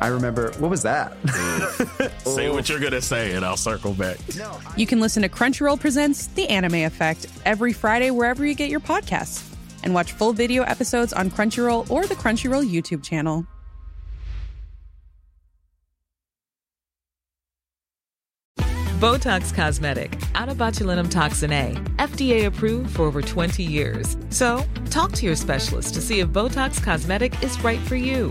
A: I remember, what was that?
D: Say what you're going to say, and I'll circle back.
E: You can listen to Crunchyroll Presents The Anime Effect every Friday wherever you get your podcasts, and watch full video episodes on Crunchyroll or the Crunchyroll YouTube channel.
F: Botox Cosmetic, out of botulinum toxin A, FDA approved for over 20 years. So, talk to your specialist to see if Botox Cosmetic is right for you.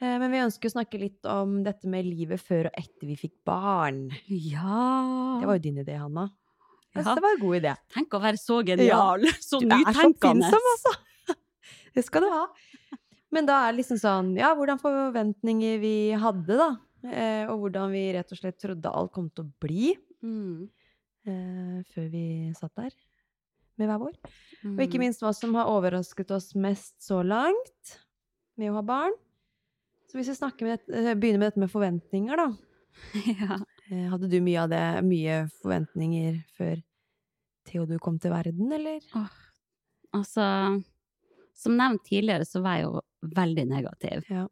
C: Eh, men vi ønsker å snakke litt om dette med livet før og etter vi fikk barn.
B: Ja.
C: Det var jo din idé, Hanna. Jeg
B: Ja.
C: synes det var en god idé.
B: Tenk å være så genial! Så
C: Du er så
B: nytenkende!
C: oppfinnsom, altså! Det skal du ha. Men da er det liksom sånn Ja, hvordan forventninger vi hadde, da. eh, Og hvordan vi rett og slett trodde alt kom til å bli
B: Mm.
C: eh, før vi satt der med hver vår.
B: Mm.
C: Og ikke minst hva som har overrasket oss mest så langt med å ha barn. Så hvis vi snakker med, dette- eh, begynner med dette med forventninger, da.
B: ja.
C: Eh, Hadde du mye av det, mye forventninger før Theodor kom til verden, eller?
B: Altså, som nevnt tidligere, så var jeg jo veldig negativ.
C: Ja.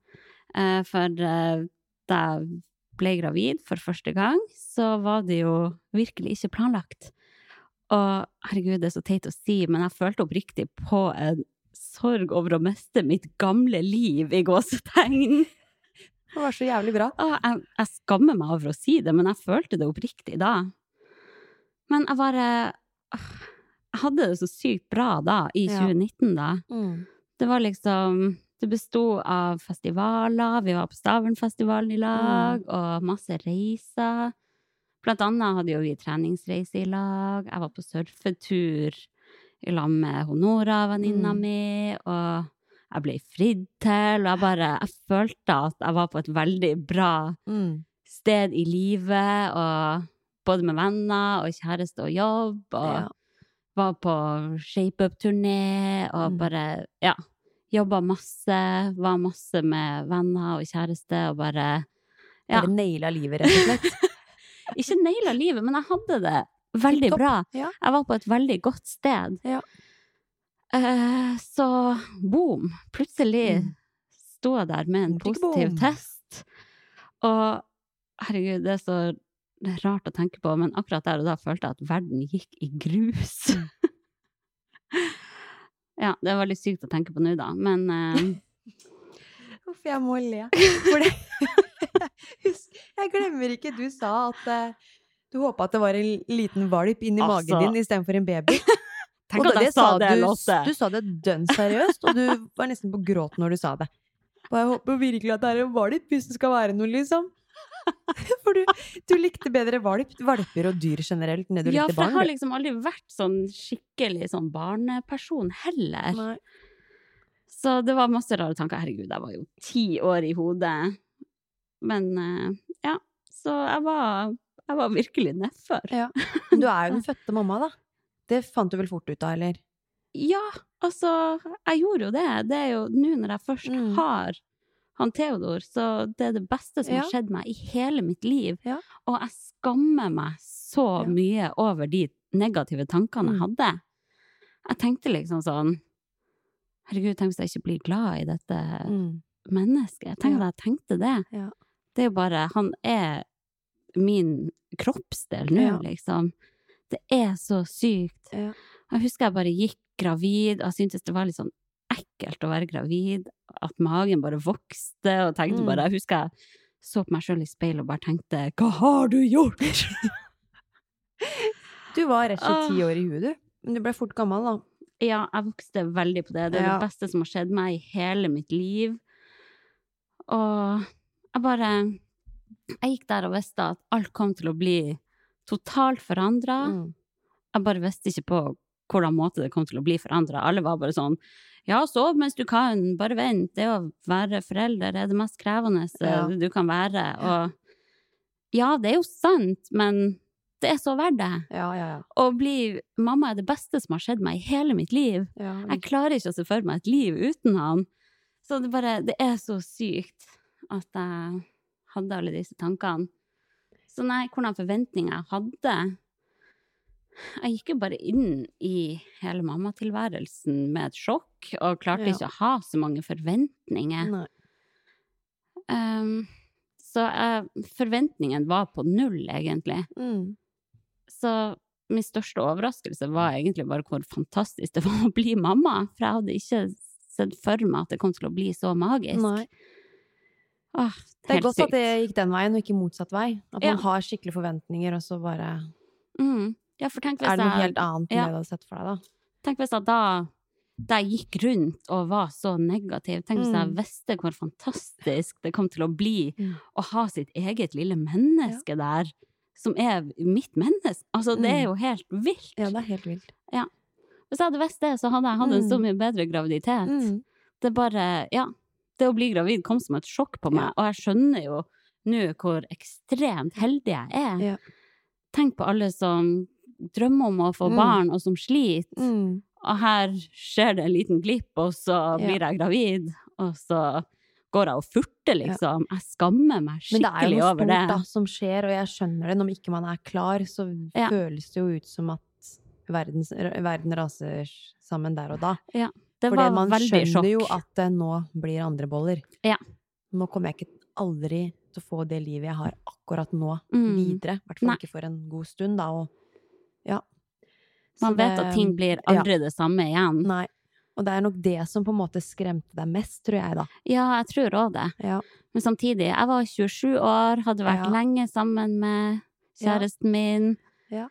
B: Eh, For eh, da jeg ble gravid for første gang, så var det jo virkelig ikke planlagt. Og herregud, det er så teit å si, men jeg følte oppriktig på en sorg over å miste mitt gamle liv i gåsetegn.
C: Det var så jævlig bra.
B: Å, jeg, jeg skammer meg over å si det, men jeg følte det oppriktig da. Men jeg bare åh, Jeg hadde det så sykt bra da, i
C: Ja.
B: 2019, da.
C: Mm.
B: Det var liksom Det besto av festivaler. Vi var på Stavernfestivalen i lag, og masse reiser. Blant annet hadde jo vi treningsreise i lag. Jeg var på surfetur i lag med Honora, venninna
C: Mm.
B: mi, og jeg ble fridd til, og jeg bare Jeg følte at jeg var på et veldig bra
C: Mm.
B: sted i livet, og både med venner og kjæreste og jobb, og
C: Ja.
B: var på shape-up-turné og
C: Mm.
B: bare, ja, jobba masse, var masse med venner og kjæreste og bare, Ja.
C: Bare naila livet, rett og slett.
B: ikke naila livet, men jeg hadde det veldig
C: Tipp topp,
B: bra.
C: ja.
B: Jeg var på et veldig godt sted.
C: Ja.
B: Eh, så boom, plutselig
C: Mm.
B: sto jeg der med en
C: Boom, tikk,
B: positiv
C: boom.
B: test. Og herregud, det er så det er rart å tenke på, men akkurat der og da følte jeg at verden gikk i grus.
C: Mm.
B: ja, det er veldig sykt å tenke på nå, da, men eh,
C: Uff, jeg må le. For det Husk, jeg glemmer ikke du sa at eh, du håpa at det var en liten valp inni
B: Altså.
C: magen din istedenfor en baby.
B: tenk
C: Og
B: at jeg sa det,
C: du,
B: Lotte!
C: du sa det dønn seriøst, og du var nesten på gråt når du sa det. Og jeg håper virkelig at det er en valp, hvis det skal være noe, liksom. For du, du likte bedre valp, valper og dyr generelt, enn det du
B: ja,
C: likte
B: for jeg
C: barn.
B: har
C: du.
B: liksom aldri vært sånn skikkelig sånn barneperson heller.
C: Nei.
B: Så det var masse rare tanker. Herregud, jeg var jo ti år i hodet. Men eh, ja, så jeg var, jeg var virkelig nedfor.
C: Ja. Men du er jo den fødte mamma, da. Det fant du vel fort ut av, eller?
B: Ja, altså, jeg gjorde jo det. Det er jo nå når jeg først
C: Mm.
B: har han Theodor, så det er det beste som
C: Ja.
B: har skjedd meg i hele mitt liv.
C: Ja.
B: Og jeg skammer meg så
C: Ja.
B: mye over de negative tankene jeg
C: Mm.
B: hadde. Jeg tenkte liksom sånn Herregud, tenk hvis jeg ikke blir glad i dette
C: Mm.
B: menneske. Tenk at
C: Ja.
B: jeg tenkte det.
C: Ja.
B: Det er jo bare Han er min kroppsdel nå,
C: Ja.
B: liksom. Det er så sykt.
C: Ja.
B: Jeg husker jeg bare gikk gravid, og jeg syntes det var litt sånn ekkelt å være gravid. At magen bare vokste, og tenkte
C: Mm.
B: bare Jeg husker jeg så på meg sjøl i speilet og bare tenkte Hva har du gjort?!
C: Du var rett og
B: Ah.
C: slett ti år i huet, du. Men du ble fort gammel, da.
B: Ja, jeg vokste veldig på det. Det er
C: Ja.
B: det beste som har skjedd meg i hele mitt liv. Og jeg bare Jeg gikk der og visste at alt kom til å bli totalt forandra.
C: Mm.
B: Jeg bare visste ikke på hvordan måte det kom til å bli forandra. Alle var bare sånn ja, sov mens du kan, bare vent. Det å være forelder er det mest krevende
C: Ja.
B: du kan være. Og ja, det er jo sant, men det er så verdt det.
C: Ja, ja, ja.
B: Å bli mamma er det beste som har skjedd meg i hele mitt liv.
C: ja.
B: Jeg klarer ikke å se for meg et liv uten han. Så det bare Det er så sykt at jeg hadde alle disse tankene. Så nei, hvordan forventninger jeg hadde Jeg gikk jo bare inn i hele mammatilværelsen med et sjokk, og klarte
C: Ja.
B: ikke å ha så mange forventninger.
C: Nei.
B: Um, så jeg, forventningen var på null, egentlig.
C: Mm.
B: Så min største overraskelse var egentlig bare hvor fantastisk det var å bli mamma. For jeg hadde ikke sett for meg at det kom til å bli så magisk.
C: Nei.
B: Åh,
C: Det er
B: helt
C: godt
B: sykt.
C: at det gikk den veien, og ikke motsatt vei. At
B: Ja.
C: man har skikkelige forventninger, og så bare
B: Mm. Ja, for tenk hvis,
C: er det noe
B: jeg,
C: helt annet enn
B: Ja.
C: det du hadde sett for deg, da.
B: tenk hvis jeg da da jeg gikk rundt og var så negativ, tenk hvis jeg
C: Mm.
B: visste hvor fantastisk det kom til å bli
C: Mm.
B: å ha sitt eget lille menneske der, som er mitt menneske. Altså, det er
C: Mm.
B: jo helt vilt.
C: Ja, det er helt vilt.
B: Hvis jeg hadde visst det, så hadde jeg hatt en så
C: Mm.
B: mye bedre graviditet.
C: Mm.
B: det bare Ja. Det å bli gravid kom som et sjokk på meg, og jeg skjønner jo nå hvor ekstremt heldig jeg er.
C: Ja.
B: Tenk på alle som drømmer om å få
C: Mm.
B: barn, og som sliter.
C: Mm.
B: Og her skjer det en liten glipp, og så
C: Ja.
B: blir jeg gravid, og så går jeg og furter, liksom. Jeg skammer meg
C: Men det er jo
B: skikkelig
C: noe
B: over det.
C: stort da, som skjer, og jeg skjønner det. Når ikke man er klar, så
B: Ja.
C: føles det jo ut som at verden, verden raser sammen der og da.
B: Det
C: Fordi
B: var
C: man
B: veldig
C: skjønner
B: sjokk.
C: jo at det nå blir andre boller.
B: Ja.
C: Nå kommer jeg ikke aldri til å få det livet jeg har akkurat nå,
B: Mm.
C: videre. I hvert
B: Nei.
C: fall ikke for en god stund, da. Og, ja. Så
B: Man vet at ting blir aldri det samme igjen.
C: Nei. Og det er nok det som på en måte skremte deg mest, tror jeg, da.
B: Ja, jeg tror òg det.
C: Ja.
B: Men samtidig, jeg var 27 år, hadde vært
C: Ja.
B: lenge sammen med
C: Ja.
B: kjæresten min.
C: Ja.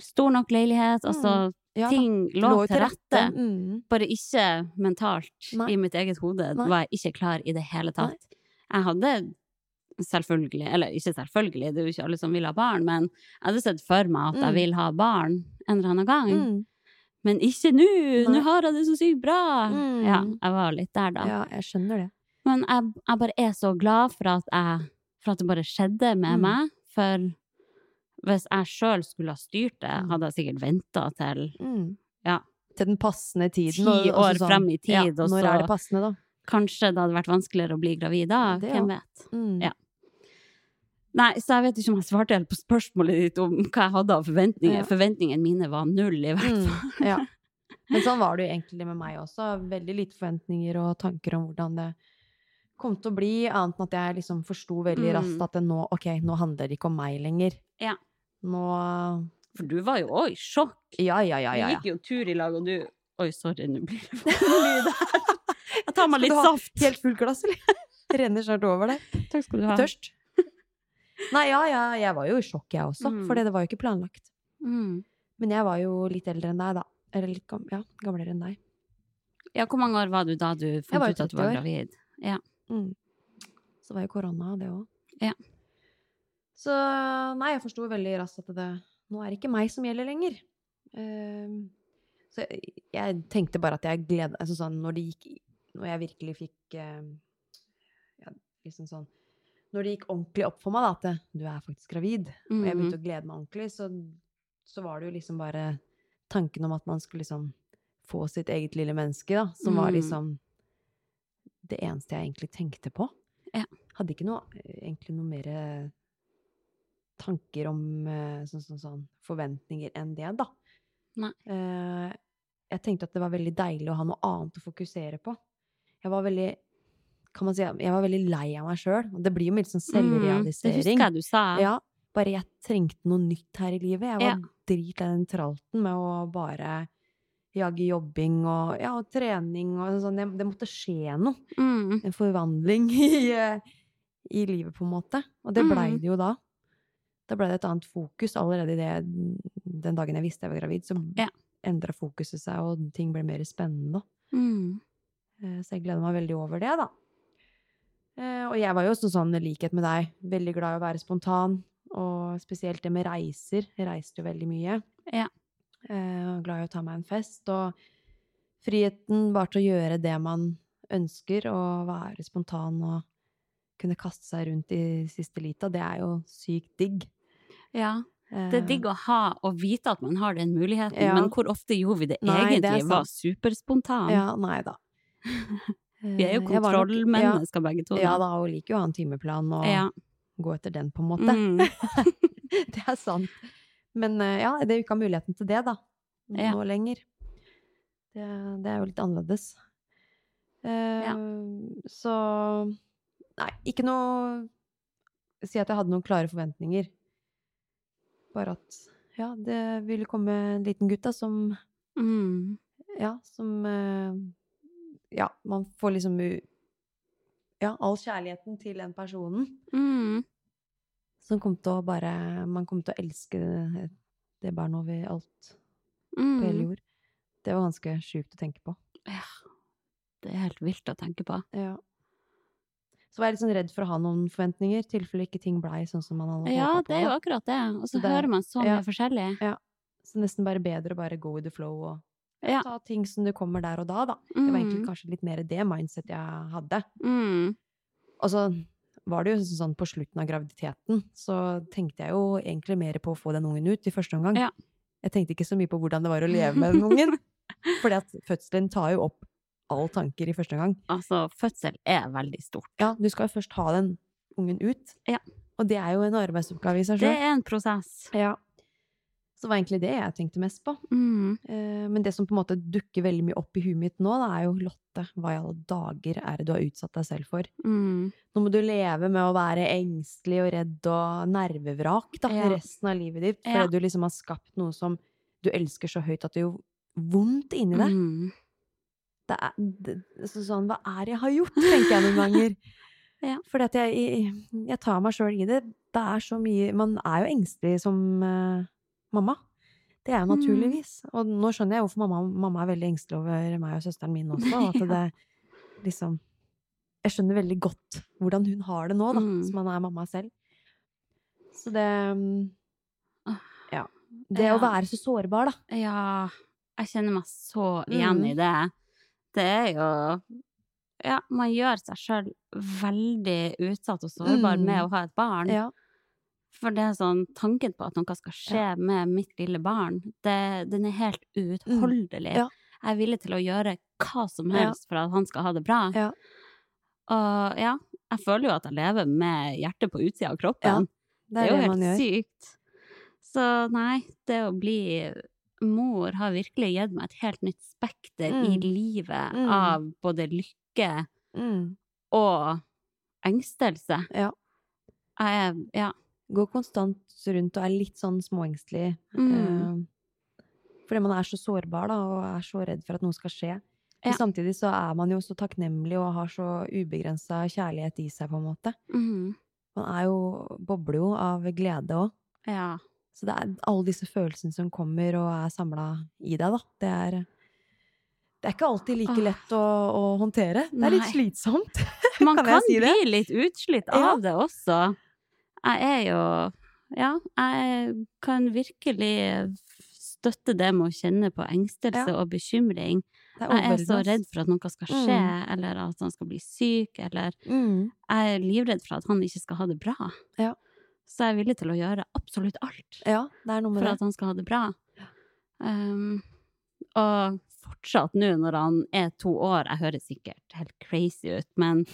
B: Stor nok leilighet. Altså,
C: Mm. Ja, da.
B: ting lå, til rette.
C: Mm.
B: Bare ikke mentalt
C: Nei.
B: i mitt eget hode
C: Nei.
B: var jeg ikke klar i det hele tatt. Jeg hadde selvfølgelig, eller ikke selvfølgelig, det er jo ikke alle som vil ha barn, men jeg hadde sett for meg at
C: Mm.
B: jeg vil ha barn en eller annen gang.
C: Mm.
B: Men ikke nå!
C: Nei.
B: Nå har jeg det så sykt bra!
C: Mm.
B: Ja, jeg var litt der, da.
C: Ja, jeg skjønner det.
B: Men jeg, jeg bare er så glad for at, jeg, for at det bare skjedde med
C: Mm.
B: meg. For hvis jeg sjøl skulle ha styrt det, hadde jeg sikkert venta til
C: Mm.
B: Ja.
C: Til den passende tiden.
B: Ti
C: og- og
B: år
C: så sånn,
B: frem i tid,
C: ja,
B: og
C: Når
B: så-
C: er det passende, da?
B: Kanskje det hadde vært vanskeligere å bli gravid da?
C: Det, ja.
B: Hvem vet?
C: Mm.
B: Ja. Nei, så jeg vet ikke om jeg svarte helt på spørsmålet ditt om hva jeg hadde av forventninger.
C: Ja.
B: Forventningene mine var null, i hvert fall.
C: Mm. ja. Men sånn var det jo egentlig med meg også. Veldig lite forventninger og tanker om hvordan det kom til å bli, annet enn at jeg liksom forsto veldig
B: Mm.
C: raskt at det nå, ok, nå handler det ikke om meg lenger.
B: Ja.
C: Nå
B: For du var jo òg i sjokk.
C: Ja, ja, ja,
B: Vi
C: ja. ja.
B: gikk jo tur i lag, og du Oi, sorry, nå blir det for mye lyd her. Jeg tar meg
C: Skal
B: litt
C: du ha
B: saft.
C: Helt fullt glass, eller? Det renner snart over det.
B: Takk skal du ha.
C: Tørst? Nei, ja, ja, jeg var jo i sjokk, jeg også.
B: Mm.
C: For det var jo ikke planlagt.
B: Mm.
C: Men jeg var jo litt eldre enn deg, da. Eller litt gam ja, gamlere enn deg.
B: Ja, hvor mange år var du da du
C: var
B: fant
C: jo
B: ut at du
C: 30
B: var
C: år.
B: gravid?
C: Mm. Så var jo korona, det òg.
B: Ja.
C: Så nei, jeg forsto veldig raskt at det Nå er det ikke meg som gjelder lenger. Ehm, så jeg, jeg tenkte bare at jeg gleda altså sånn, Når det gikk Når jeg virkelig fikk ehm, ja, liksom sånn Når det gikk ordentlig opp for meg da, at det- du er faktisk gravid, og jeg
B: Mm-hmm.
C: begynte å glede meg ordentlig, så, så var det jo liksom bare tanken om at man skulle liksom få sitt eget lille menneske, da, som var
B: Mm.
C: liksom det eneste jeg egentlig tenkte på.
B: Ja.
C: Hadde ikke noe, egentlig noe mer eh, tanker om eh, sånn, sånn, sånn forventninger enn det, da.
B: Nei.
C: Eh, Jeg tenkte at det var veldig deilig å ha noe annet å fokusere på. Jeg var veldig kan man si, jeg var veldig lei av meg sjøl. Det blir jo mye sånn
B: Mm, Det
C: selvrealisering.
B: husker jeg du sa.
C: Ja, bare jeg trengte noe nytt her i livet. Jeg var
B: Ja.
C: dritlei den tralten med å bare jage jobbing og, ja, og trening og sånn. Det, det måtte skje noe.
B: Mm.
C: En forvandling i, eh, i livet, på en måte. Og det blei
B: Mm.
C: det jo da. Da blei det et annet fokus. Allerede i det, den dagen jeg visste jeg var gravid, så
B: Ja.
C: endra fokuset seg, og ting ble mer spennende.
B: Mm.
C: Eh, Så jeg gleder meg veldig over det, da. Eh, Og jeg var jo også sånn i likhet med deg, veldig glad i å være spontan. Og spesielt det med reiser. Jeg reiste jo veldig mye.
B: Ja.
C: eh, og glad i å ta meg en fest. Og friheten bare til å gjøre det man ønsker, og være spontan og kunne kaste seg rundt i siste lita, det er jo sykt digg. Eh,
B: Ja. Det er digg å ha og vite at man har den muligheten,
C: Ja.
B: men hvor ofte gjorde vi det
C: Nei, det er
B: egentlig? var
C: sant.
B: superspontan.
C: Ja, nei da. Eh,
B: Vi er jo
C: Jeg var nok-
B: kontrollmennesker begge to.
C: Ja, ja da, og liker jo å ha en timeplan og
B: Ja.
C: gå etter den, på en måte.
B: Mm.
C: det er sant. Men eh, ja, det er jo ikke ha muligheten til det, da. Nå
B: Ja.
C: lenger. Det, det er jo litt annerledes. Eh,
B: Ja.
C: Så Nei, ikke noe Si at jeg hadde noen klare forventninger. Bare at ja, det ville komme en liten gutt da, som
B: Mm.
C: ja, som eh, Ja, man får liksom u- Ja, all kjærligheten til den personen
B: Mm.
C: som kom til å bare Man kom til å elske det, det barnet over alt på
B: Mm.
C: hele jord. Det var ganske sjukt å tenke på.
B: Ja. Det er helt vilt å tenke på.
C: Ja. Så var jeg litt sånn redd for å ha noen forventninger, i tilfelle ikke ting blei sånn som man hadde
B: Ja,
C: håpet
B: det er
C: på.
B: jo
C: da.
B: akkurat det. Og så
C: Så det-
B: hører man så mye
C: ja.
B: forskjellig.
C: Så nesten bare bedre å bare go with the flow og
B: Ja.
C: ta ting som det kommer der og da, da. Det var egentlig
B: Mm.
C: kanskje litt mer det mindset jeg hadde.
B: Mm.
C: Og så Altså, var det jo sånn på slutten av graviditeten, så tenkte jeg jo egentlig mer på å få den ungen ut i første omgang.
B: Ja.
C: Jeg tenkte ikke så mye på hvordan det var å leve med den ungen. Fordi at fødselen tar jo opp alle tanker i første omgang.
B: Altså, fødsel er veldig stort.
C: Ja, du skal jo først ha den ungen ut.
B: Ja.
C: Og det er jo en arbeidsoppgave i seg
B: Det
C: sjøl.
B: er en prosess.
C: Ja. Så det var egentlig det jeg tenkte mest på.
B: Mm.
C: Eh, Men det som på en måte dukker veldig mye opp i huet mitt nå, da, er jo Lotte, hva i alle dager er det du har utsatt deg selv for?
B: Mm.
C: Nå må du leve med å være engstelig og redd og nervevrak da,
B: Ja.
C: resten av livet ditt, fordi
B: Ja.
C: du liksom har skapt noe som du elsker så høyt at det gjør vondt inni deg.
B: Mm.
C: Det er, det, så sånn, hva er det jeg har gjort, tenker jeg noen ganger.
B: Ja.
C: Fordi at jeg, jeg- jeg tar meg sjøl i det. Det er så mye Man er jo engstelig som eh, mamma. Det
B: Mm.
C: er jo naturligvis. Og nå skjønner jeg hvorfor mamma, mamma er veldig engstelig over meg og søsteren min også. og At det liksom Jeg skjønner veldig godt hvordan hun har det nå, da,
B: Mm.
C: som man er mamma selv. Så det
B: Ah.
C: Ja. Det
B: Ja.
C: å være så sårbar, da.
B: Ja, jeg kjenner meg så igjen
C: Mm.
B: i det. Det er jo Ja, man gjør seg sjøl veldig utsatt og sårbar
C: Mm.
B: med å ha et barn.
C: Ja.
B: For det er sånn tanken på at noe skal skje med mitt lille barn, det, den er helt uutholdelig.
C: Mm. Ja.
B: Jeg er villig til å gjøre hva som
C: Ja.
B: helst for at han skal ha det bra.
C: Ja.
B: Og ja, jeg føler jo at jeg lever med hjertet på utsida av
C: Ja,
B: kroppen.
C: Det er det,
B: jo
C: man
B: helt
C: gjør.
B: sykt. Så nei, det å bli mor har virkelig gitt meg et helt nytt spekter i
C: Mm.
B: livet
C: Mm.
B: av både lykke
C: Mm.
B: og engstelse.
C: Ja.
B: Jeg er Ja.
C: går konstant rundt og er litt sånn småengstelig.
B: Mm.
C: eh, fordi man er så sårbar da, og er så redd for at noe skal skje. Men
B: Ja.
C: samtidig så er man jo så takknemlig og har så ubegrensa kjærlighet i seg, på en måte.
B: Mm,
C: Man er jo, bobler jo av glede òg.
B: ja.
C: Så det er alle disse følelsene som kommer og er samla i deg, da. Det er, det er ikke alltid like
B: Åh.
C: lett å, å håndtere. Det er litt
B: Nei.
C: slitsomt.
B: Man
C: Kan
B: kan,
C: jeg si det?
B: bli litt utslitt
C: Ja.
B: av det også. Jeg er jo Ja, jeg kan virkelig støtte det med å kjenne på engstelse og bekymring.
C: Det
B: Jeg er så
C: overveldende.
B: redd for at noe skal skje, eller at han skal bli syk, eller
C: Mm.
B: Jeg er livredd for at han ikke skal ha det bra.
C: Ja.
B: Så jeg er villig til å gjøre absolutt alt
C: Ja, det er noe med
B: for
C: det.
B: at han skal ha det bra. Um, og fortsatt nå når han er to år, jeg høres sikkert helt crazy ut, men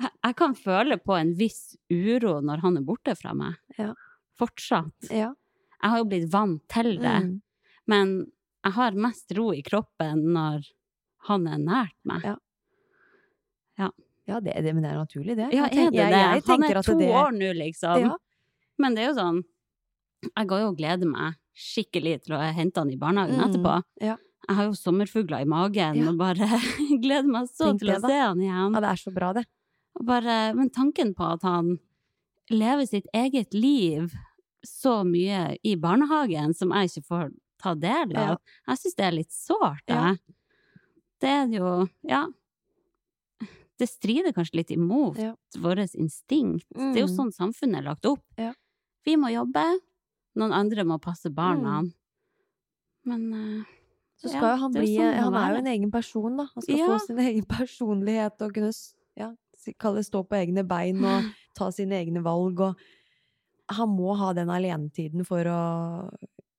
B: jeg, jeg kan føle på en viss uro når han er borte fra meg.
C: Ja.
B: Fortsatt.
C: Ja.
B: Jeg har jo blitt vant til det,
C: Mm.
B: men jeg har mest ro i kroppen når han er nært meg.
C: Ja. Ja, det, det, men det er naturlig, det.
B: Ja,
C: Jeg
B: er
C: tenk-
B: det
C: jeg-
B: det?
C: jeg
B: han
C: tenker
B: er
C: at
B: to
C: det-
B: år nå, liksom.
C: Ja.
B: Men det er jo sånn Jeg går jo og gleder meg skikkelig til å hente han i barnehagen
C: Mm,
B: etterpå.
C: ja.
B: Jeg har jo sommerfugler i magen
C: Ja.
B: og bare gleder meg så
C: Tenk
B: til å
C: det, da.
B: se han igjen.
C: Ja, det er så bra, det.
B: Og Bare, men tanken på at han lever sitt eget liv så mye i barnehagen som jeg ikke får ta del av,
C: Ja.
B: jeg syns det er litt sårt.
C: Ja.
B: jeg. Det er jo Ja. Det strider kanskje litt imot
C: Ja.
B: vårt instinkt. Det er jo
C: Mm.
B: sånn samfunnet er lagt opp.
C: Ja. Mm.
B: Vi må jobbe, noen andre må passe barna. Men eh,
C: Så
B: Ja,
C: skal jo han
B: det er
C: bli eh,
B: sånn han
C: Han er
B: er,
C: jo en egen person, da. Han skal
B: Ja.
C: få sin egen personlighet og kunne s- ja, si- kalle det stå på egne bein og ta sine egne valg og Han må ha den alenetiden for å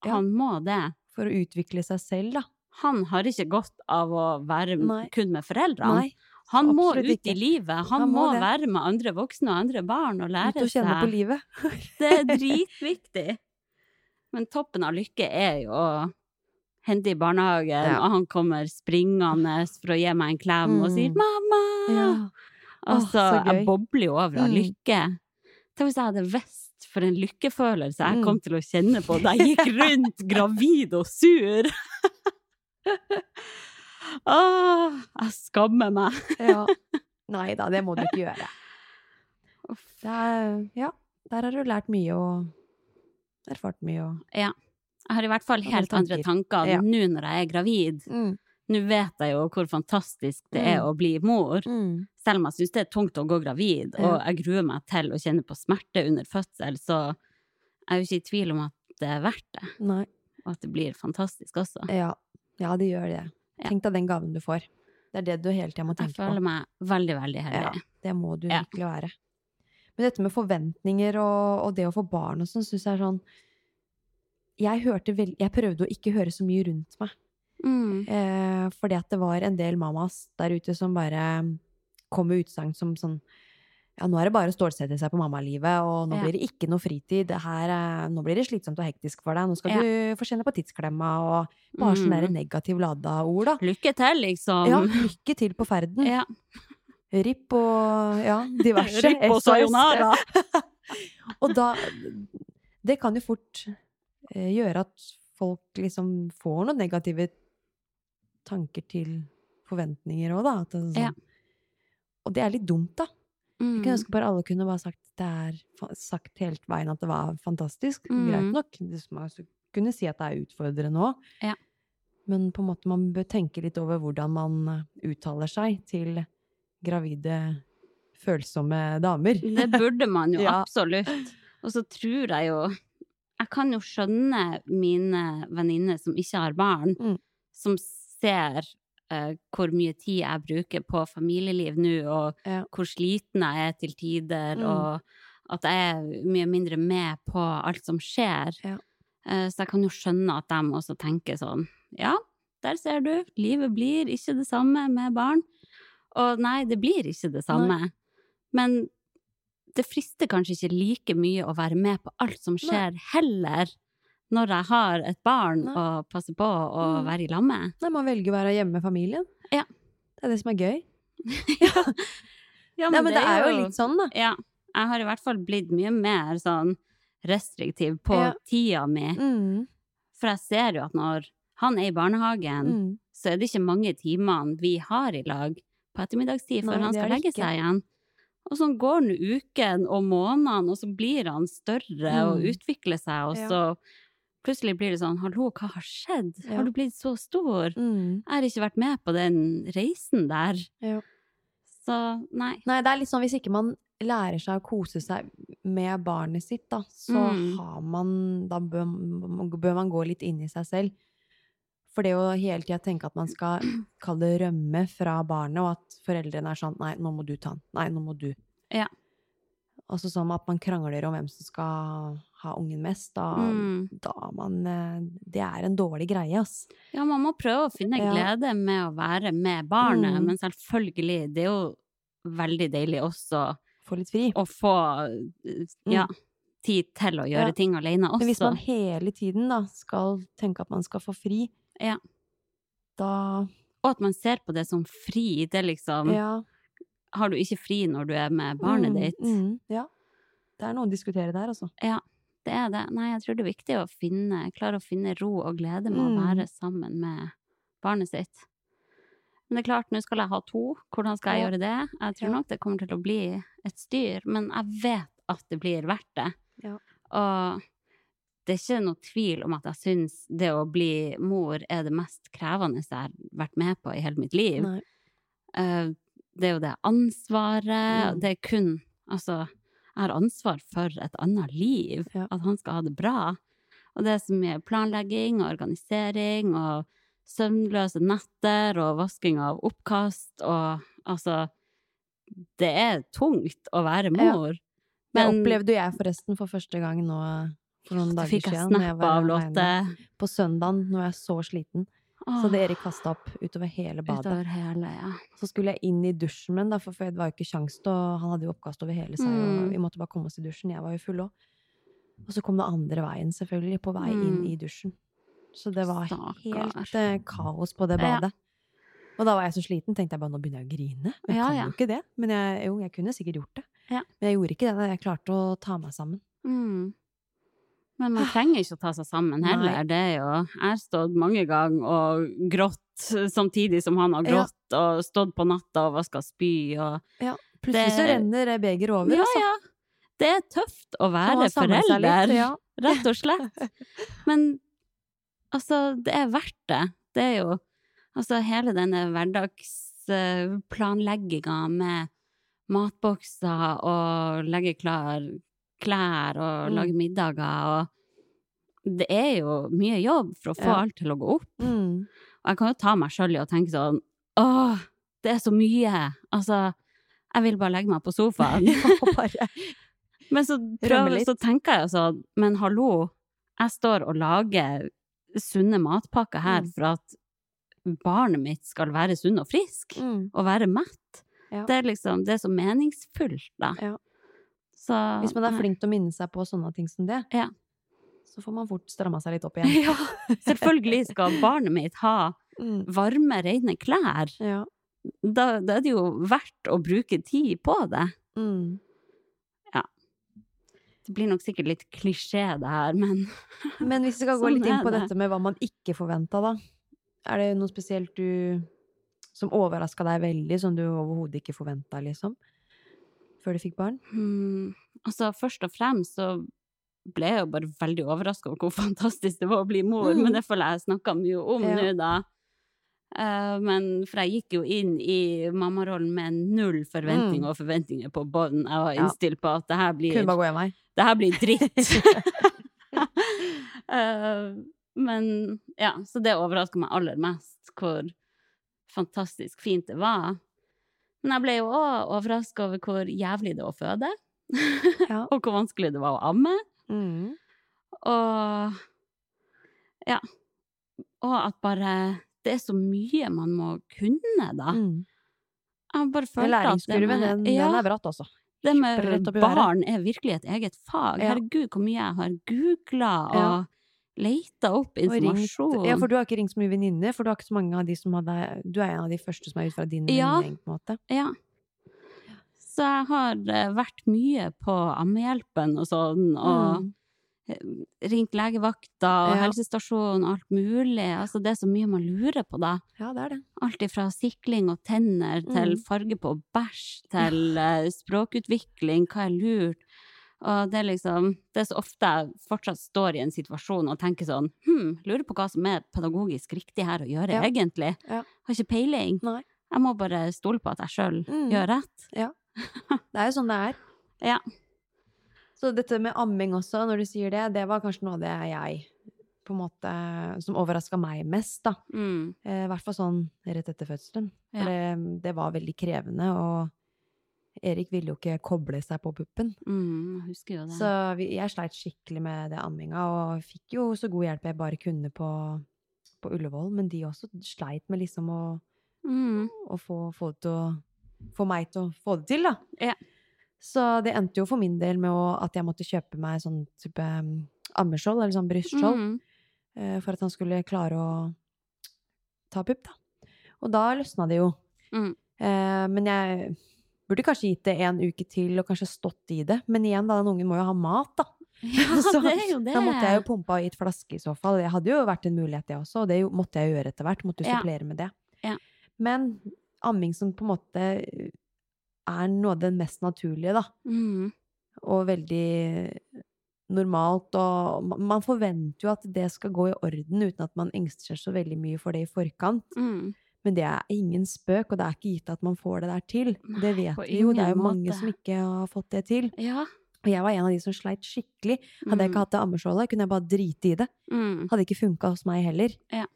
C: Ja.
B: han må det.
C: for å utvikle seg selv, da.
B: Han har ikke godt av å være m-
C: Nei.
B: kun med foreldrene.
C: Nei.
B: han må
C: absolutt
B: ut
C: ikke.
B: i livet. Han,
C: Han
B: må,
C: må det.
B: være med andre voksne og andre barn og
C: Ut
B: lære
C: og kjenne
B: seg.
C: på livet.
B: Det er dritviktig. Men toppen av lykke er jo å hente i barnehagen,
C: Ja.
B: og han kommer springende for å gi meg en klem og sier
C: Mm.
B: 'mamma'.
C: Åh,
B: Altså,
C: så gøy.
B: jeg bobler jo over av
C: Mm.
B: lykke. Tenk hvis jeg hadde visst for en lykkefølelse jeg
C: Mm.
B: kom til å kjenne på da jeg gikk rundt gravid og sur. Åh, jeg skammer meg.
C: Ja. Nei da, det må du ikke gjøre.
B: Uff.
C: Det er, ja, der har du lært mye og erfart mye og
B: Jeg har i hvert fall
C: Andre
B: helt andre tanker
C: Ja.
B: nå når jeg er gravid.
C: mm,
B: Nå vet jeg jo hvor fantastisk det er
C: Mm.
B: å bli mor,
C: mm.
B: selv om jeg syns det er tungt å gå gravid,
C: Ja.
B: og jeg gruer meg til å kjenne på smerte under fødsel, så jeg er jo ikke i tvil om at det er verdt det,
C: Nei.
B: og at det blir fantastisk også.
C: Ja. ja, det gjør det.
B: Ja.
C: Tenk deg den gaven du får. Det er det du hele tida må
B: Jeg
C: tenke på.
B: føler meg veldig, veldig heldig.
C: Det må du
B: Ja.
C: virkelig være. Men dette med forventninger og, og det å få barn og sånn, syns jeg er sånn jeg, hørte vel, jeg prøvde å ikke høre så mye rundt meg.
B: Mm.
C: Eh, fordi at det var en del mammas der ute som bare kom med utsagn som sånn Ja, nå er det bare å stålsette seg på mammalivet, og nå
B: Ja.
C: blir det ikke noe fritid. Det Her, er- nå blir det slitsomt og hektisk for deg. Nå skal
B: Ja.
C: du få kjenne på tidsklemma, og bare sånne der
B: Mm.
C: negativ lada ord, da.
B: Lykke til, liksom.
C: Ja, lykke til på ferden.
B: Ja.
C: Ripp og ja, diverse.
B: Ripp og
C: SOS.
B: sayonara.
C: og da Det kan jo fort eh, gjøre at folk liksom får noen negative tanker til forventninger òg, da. At det er sånn.
B: Ja.
C: Og det er litt dumt, da. Jeg kunne
B: Mm.
C: ønske bare alle kunne bare sagt det er fa- sagt helt veien at det var fantastisk.
B: Mm.
C: Greit nok. Det som er- så kunne si at det er utfordrende òg.
B: Ja.
C: Men på en måte man bør tenke litt over hvordan man eh, uttaler seg til gravide, følsomme damer.
B: Det burde man jo
C: Ja.
B: absolutt. Og så tror jeg jo Jeg kan jo skjønne mine venninner som ikke har barn,
C: Mm.
B: som ser eh, hvor mye tid jeg bruker på familieliv nå, og
C: Ja.
B: hvor sliten jeg er til tider,
C: Mm.
B: og at jeg er mye mindre med på alt som skjer.
C: Ja.
B: Eh, så jeg kan jo skjønne at de også tenker sånn Ja, der ser du. Livet blir ikke det samme med barn. Og nei, det blir ikke det samme. Men det frister kanskje ikke like mye å være med på alt som skjer, heller, når jeg har et barn
C: Nei.
B: å passe på og
C: Mm.
B: være i lag med.
C: Nei, man velger å være hjemme med familien.
B: Ja.
C: Det er det som er gøy.
B: Ja,
C: Nei, men det er jo litt sånn, da.
B: Ja. Jeg har i hvert fall blitt mye mer sånn restriktiv på
C: Ja.
B: tida mi,
C: Mm,
B: for jeg ser jo at når han er i barnehagen,
C: mm.
B: så er det ikke mange timene vi har i lag på ettermiddagstid før
C: Nei,
B: han
C: det er
B: skal
C: det
B: legge
C: ikke.
B: seg igjen. Og sånn går nå uken og månedene, og så blir han større og
C: Mm.
B: utvikler seg, og
C: Ja.
B: så plutselig blir det sånn Hallo, hva har skjedd?
C: Ja.
B: Har du blitt så stor?
C: Mm.
B: Jeg har ikke vært med på den reisen der.
C: Ja.
B: Så nei.
C: Nei, det er litt sånn hvis ikke man lærer seg å kose seg med barnet sitt, da, så
B: Mm.
C: har man Da bør, bør man gå litt inn i seg selv. For det å hele tida tenke at man skal kalle det rømme fra barnet, og at foreldrene er sånn Nei, nå må du ta den. Nei, nå må du.
B: Ja.
C: Altså som at man krangler om hvem som skal ha ungen mest. Da,
B: Mm.
C: da er man eh, Det er en dårlig greie, ass.
B: Ja, man må prøve å finne
C: Ja.
B: glede med å være med barnet,
C: Mm.
B: men selvfølgelig, det er jo veldig deilig også
C: Få litt fri.
B: å få eh, ja, tid til å gjøre
C: Mm. Ja.
B: ting alene også.
C: Men hvis man hele tiden da skal tenke at man skal få fri,
B: Ja.
C: da
B: Og at man ser på det som fri. Det er liksom
C: ja,
B: Har du ikke fri når du er med barnet
C: mm,
B: ditt?
C: Mm, ja. Det er noe å diskutere der, altså.
B: Det er det. Nei, jeg tror det er viktig å finne, klare å finne ro og glede med å
C: Mm.
B: være sammen med barnet sitt. Men det er klart, nå skal jeg ha to. Hvordan skal jeg
C: Ja.
B: gjøre det? Jeg tror
C: Ja.
B: nok det kommer til å bli et styr, men jeg vet at det blir verdt det.
C: Ja.
B: Og det er ikke noe tvil om at jeg syns det å bli mor er det mest krevende jeg har vært med på i hele mitt liv.
C: Nei.
B: Eh, det er jo det ansvaret.
C: Mm.
B: Det er kun Altså, jeg har ansvar for et annet liv.
C: Ja.
B: At han skal ha det bra. Og det er så mye planlegging og organisering og søvnløse netter og vasking av oppkast og altså Det er tungt å være
C: Ja.
B: mor.
C: Det
B: Men-
C: opplevde jo jeg forresten for første gang nå for noen
B: Da
C: dager
B: fikk jeg
C: siden. når jeg
B: snap
C: var
B: av
C: alene.
B: Lotte.
C: På søndagen, når jeg er så sliten. Så hadde Erik kasta opp utover hele
B: Åh,
C: badet.
B: Utover hele, ja.
C: Så skulle jeg inn i dusjen min, da, for for det var jo ikke sjans til å Han hadde jo oppkast over hele seg,
B: Mm.
C: og vi måtte bare komme oss i dusjen. Jeg var jo full òg. Og så kom det andre veien, selvfølgelig, på vei inn
B: Mm.
C: i dusjen. Så det var helt
B: Stakkar.
C: eh, kaos på det
B: Ja.
C: badet. Og da var jeg så sliten, tenkte jeg bare nå begynner jeg å grine. Jeg
B: Ja,
C: kan
B: ja.
C: jo ikke det. Men jeg, jo, jeg kunne sikkert gjort det.
B: Ja.
C: Men jeg gjorde ikke det. da. Jeg klarte å ta meg sammen.
B: Mm. Men man trenger ikke å ta seg sammen heller.
C: Ah. Nei.
B: Det er jo Jeg har stått mange ganger og grått samtidig som han har
C: Ja.
B: grått, og stått på natta og vaska spy og
C: Plutselig så
B: Det-
C: renner begeret over.
B: Ja,
C: altså.
B: ja. Det er tøft å
C: Så man
B: være
C: samler seg litt,
B: forelder,
C: Ja.
B: rett og slett. Men altså, det er verdt det. Det er jo altså hele denne hverdagsplanlegginga med matbokser og legge klar klær og
C: Mm.
B: lage middager og Det er jo mye jobb for å få
C: Ja.
B: alt til å gå opp.
C: Mm.
B: Og jeg kan jo ta meg sjøl i å tenke sånn Åh, det er så mye! Altså, jeg vil bare legge meg på sofaen.
C: Og bare
B: Men så,
C: Rømme
B: prøver,
C: litt.
B: så tenker jeg sånn, men hallo, jeg står og lager sunne matpakker her
C: Mm.
B: for at barnet mitt skal være sunn og frisk,
C: mm.
B: og være mett.
C: Ja.
B: Det er liksom, det er så meningsfullt da.
C: Ja.
B: Så,
C: Hvis man er flink til å minne seg på sånne ting som det,
B: Ja.
C: så får man fort stramma seg litt opp igjen.
B: Ja, selvfølgelig skal barnet mitt ha
C: Mm.
B: varme, rene klær.
C: Ja.
B: Da, da er det jo verdt å bruke tid på det.
C: Mm.
B: Det blir nok sikkert litt klisjé det her, men
C: Men hvis vi skal gå
B: Sånn
C: litt inn
B: er
C: på
B: det.
C: dette med hva man ikke forventa, da. Er det noe spesielt du som overraska deg veldig, som du overhodet ikke forventa, liksom? Før du fikk barn?
B: Hmm. Altså, først og fremst så ble jeg jo bare veldig overraska over hvor fantastisk det var å bli mor,
C: Mm.
B: men det føler jeg jeg snakka mye om
C: Ja.
B: nå, da. Eh, men for jeg gikk jo inn i mammarollen med null forventninger og forventninger på bånn. Jeg var
C: Mm. Ja.
B: innstilt på at det her
C: Kunne
B: blir,
C: bare gå hjem, jeg.
B: det her blir dritt. Eh, men ja, så det overraska meg aller mest, hvor fantastisk fint det var. Men jeg ble jo òg overraska over hvor jævlig det var å føde.
C: Ja.
B: og hvor vanskelig det var å amme.
C: Mm.
B: Og ja. Og at bare Det er så mye man må kunne, da.
C: Mm.
B: Jeg bare
C: Men
B: følte at det
C: Læringskurven, den,
B: med, ja,
C: den er bratt, altså.
B: det
C: rett
B: med
C: opp i været.
B: barn er virkelig et eget fag.
C: Ja.
B: Herregud, hvor mye jeg har googla og
C: Ja.
B: leita opp
C: Og ringt-
B: informasjon.
C: Ja, for du har ikke ringt så mye venninner, for du har ikke så mange av de som hadde Du er en av de første som er ut fra din
B: Ja.
C: venninnegjeng, på en måte.
B: Ja. Så jeg har eh, vært mye på Ammehjelpen og sånn, og
C: Mm.
B: eh, ringt legevakta og
C: Ja.
B: helsestasjonen og alt mulig. Altså, det er så mye man lurer på, da.
C: Ja, det er det.
B: Alt ifra sikling og tenner til
C: Mm.
B: farge på bæsj, til eh, språkutvikling, hva er lurt? Og det er liksom Det er så ofte jeg fortsatt står i en situasjon og tenker sånn Hm, lurer på hva som er pedagogisk riktig her å gjøre,
C: Ja.
B: egentlig.
C: Ja.
B: Har ikke peiling.
C: Nei.
B: Jeg må bare stole på at jeg sjøl
C: Mm.
B: gjør rett.
C: Det er jo sånn det er.
B: Ja.
C: Så dette med amming også, når du sier det, det var kanskje noe av det jeg på en måte, som overraska meg mest, da.
B: Mm.
C: Eh, I hvert fall sånn rett etter fødselen.
B: Ja.
C: For det, det var veldig krevende, og Erik ville jo ikke koble seg på puppen.
B: Mm, jeg husker jo det.
C: Så vi, jeg sleit skikkelig med det amminga, og fikk jo så god hjelp jeg bare kunne på, på Ullevål. Men de også sleit med liksom å
B: mm.
C: å få, få, det til å, få meg til å få det til, da.
B: Ja.
C: Så det endte jo for min del med å, at jeg måtte kjøpe meg sånn type mm, ammeskjold, eller sånn brystskjold,
B: Mm.
C: eh, for at han skulle klare å ta pupp, da. Og da løsna det jo.
B: Mm.
C: Eh, men jeg burde kanskje gitt det en uke til, og kanskje stått i det. Men igjen, da, den ungen må jo ha mat, da.
B: Ja,
C: Så
B: det er jo det.
C: Da måtte jeg jo pumpa i et flaske i så fall. Det hadde jo vært en mulighet, det også, og det jo- måtte jeg jo gjøre etter hvert. Måtte jo
B: Ja.
C: supplere med det.
B: Ja.
C: Men amming som på en måte er noe av det mest naturlige, da.
B: Mm.
C: Og veldig normalt, og ma- man forventer jo at det skal gå i orden uten at man engster seg så veldig mye for det i forkant.
B: Mm.
C: Men det er ingen spøk, og det er ikke gitt at man får det der til.
B: Nei,
C: Det vet
B: på
C: vi jo, det er jo
B: ingen
C: mange
B: måte.
C: som ikke har fått det til.
B: Ja.
C: Og jeg var en av de som sleit skikkelig. Hadde jeg ikke hatt det ammeskjoldet, kunne jeg bare drite i det.
B: Mm.
C: Hadde ikke funka hos meg heller.
B: Ja.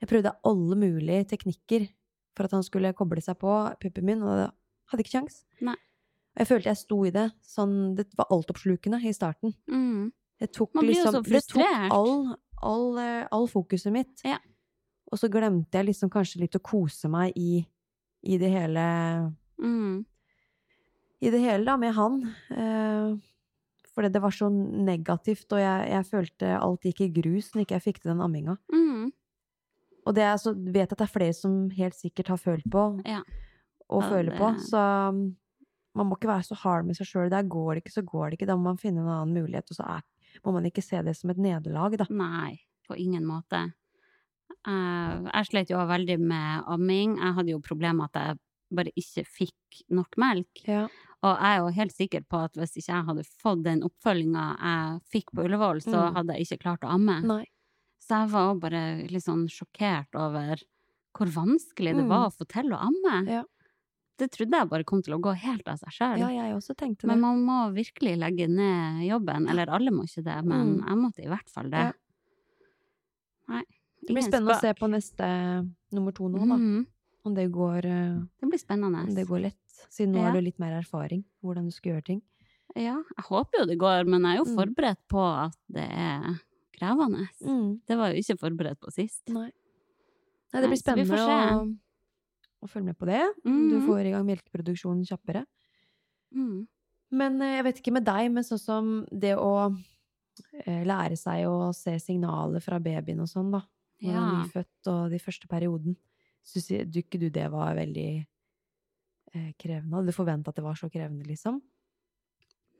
C: Jeg prøvde alle mulige teknikker for at han skulle koble seg på puppen min, og det hadde ikke kjangs.
B: Nei.
C: Og Jeg følte jeg sto i det sånn Det var altoppslukende i starten.
B: Mm.
C: Det tok
B: Man blir jo
C: liksom
B: så
C: Det
B: frustrert.
C: tok all, all, eh, all fokuset mitt.
B: Ja.
C: Og så glemte jeg liksom kanskje litt å kose meg i, i det hele
B: Mm.
C: i det hele da, med han. Eh, fordi det var så negativt, og jeg, jeg følte alt gikk i grus når ikke jeg fikk til den amminga.
B: Mm.
C: Og det er, så vet jeg at det er flere som helt sikkert har følt på,
B: Ja.
C: og
B: Ja,
C: føler
B: det-
C: på, så um, man må ikke være så hard med seg sjøl. Der går det ikke, så går det ikke. Da må man finne en annen mulighet, og så er, må man ikke se det som et nederlag, da.
B: Nei, på ingen måte. Eh, jeg slet jo veldig med amming. Jeg hadde jo problemer at jeg bare ikke fikk nok melk.
C: Ja.
B: Og jeg er jo helt sikker på at hvis ikke jeg hadde fått den oppfølginga jeg fikk på Ullevål, så
C: Mm.
B: hadde jeg ikke klart å amme.
C: Nei.
B: Så jeg var jo bare litt sånn sjokkert over hvor vanskelig det
C: Mm.
B: var å få til å amme.
C: Ja.
B: Det trodde jeg bare kom til å gå helt av seg sjøl.
C: Ja, jeg også tenkte det.
B: Men man må virkelig legge ned jobben. Eller alle må ikke det, men
C: Mm.
B: jeg måtte i hvert fall det.
C: Ja.
B: Nei.
C: det blir
B: ingen
C: spennende å se
B: spøk.
C: på neste nummer to nå, da.
B: Mhm.
C: Om det går eh,
B: Det blir spennende.
C: Om det går lett. Siden nå har
B: Ja.
C: du litt mer erfaring hvordan du skal gjøre ting.
B: Ja, jeg håper jo det går, men jeg er jo
C: Mm.
B: forberedt på at det er krevende. Det var jeg jo ikke forberedt på sist.
C: Nei. Nei,
B: Nei,
C: det blir
B: så vi får
C: spennende å, å følge med på det. Om Du
B: Mhm.
C: får i gang melkeproduksjonen kjappere.
B: Mm.
C: Men eh, jeg vet ikke med deg, men sånn som det å eh, lære seg å se signaler fra babyen og sånn, da. Når han er
B: Ja.
C: nyfødt og de første perioden. Syns du ikke du det var veldig eh, krevende? Hadde du forventa at det var så krevende, liksom?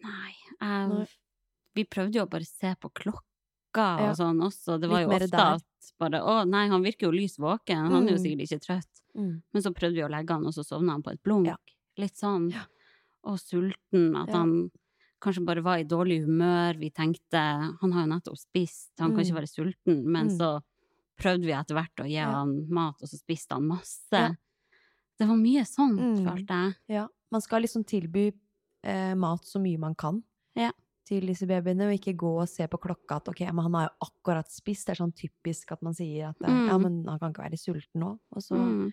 B: Nei. Jeg,
C: Nei.
B: Vi prøvde jo å bare se på klokka og
C: Ja.
B: sånn også. Det var
C: Litt
B: jo
C: mer
B: ofte
C: der.
B: at bare Å, nei, han virker jo lys våken. Han er jo
C: Mm.
B: sikkert ikke trøtt. Men så prøvde vi å legge han, og så sovna han på et blunk.
C: Ja.
B: Litt sånn.
C: Ja.
B: Og sulten. At
C: Ja.
B: han kanskje bare var i dårlig humør. Vi tenkte han har jo nettopp spist, han kan
C: Mm.
B: ikke være sulten. Men
C: Mm.
B: så prøvde vi etter hvert å gi
C: Ja.
B: han mat, og så spiste han masse.
C: Ja.
B: Det var mye sånt,
C: Mm.
B: følte jeg.
C: Ja, man skal liksom tilby eh, mat så mye man kan
B: Ja.
C: til disse babyene, og ikke gå og se på klokka at ok, men han har jo akkurat spist. Det er sånn typisk at man sier at eh,
B: Mm.
C: ja, men han kan ikke være sulten nå. Og så,
B: Mm.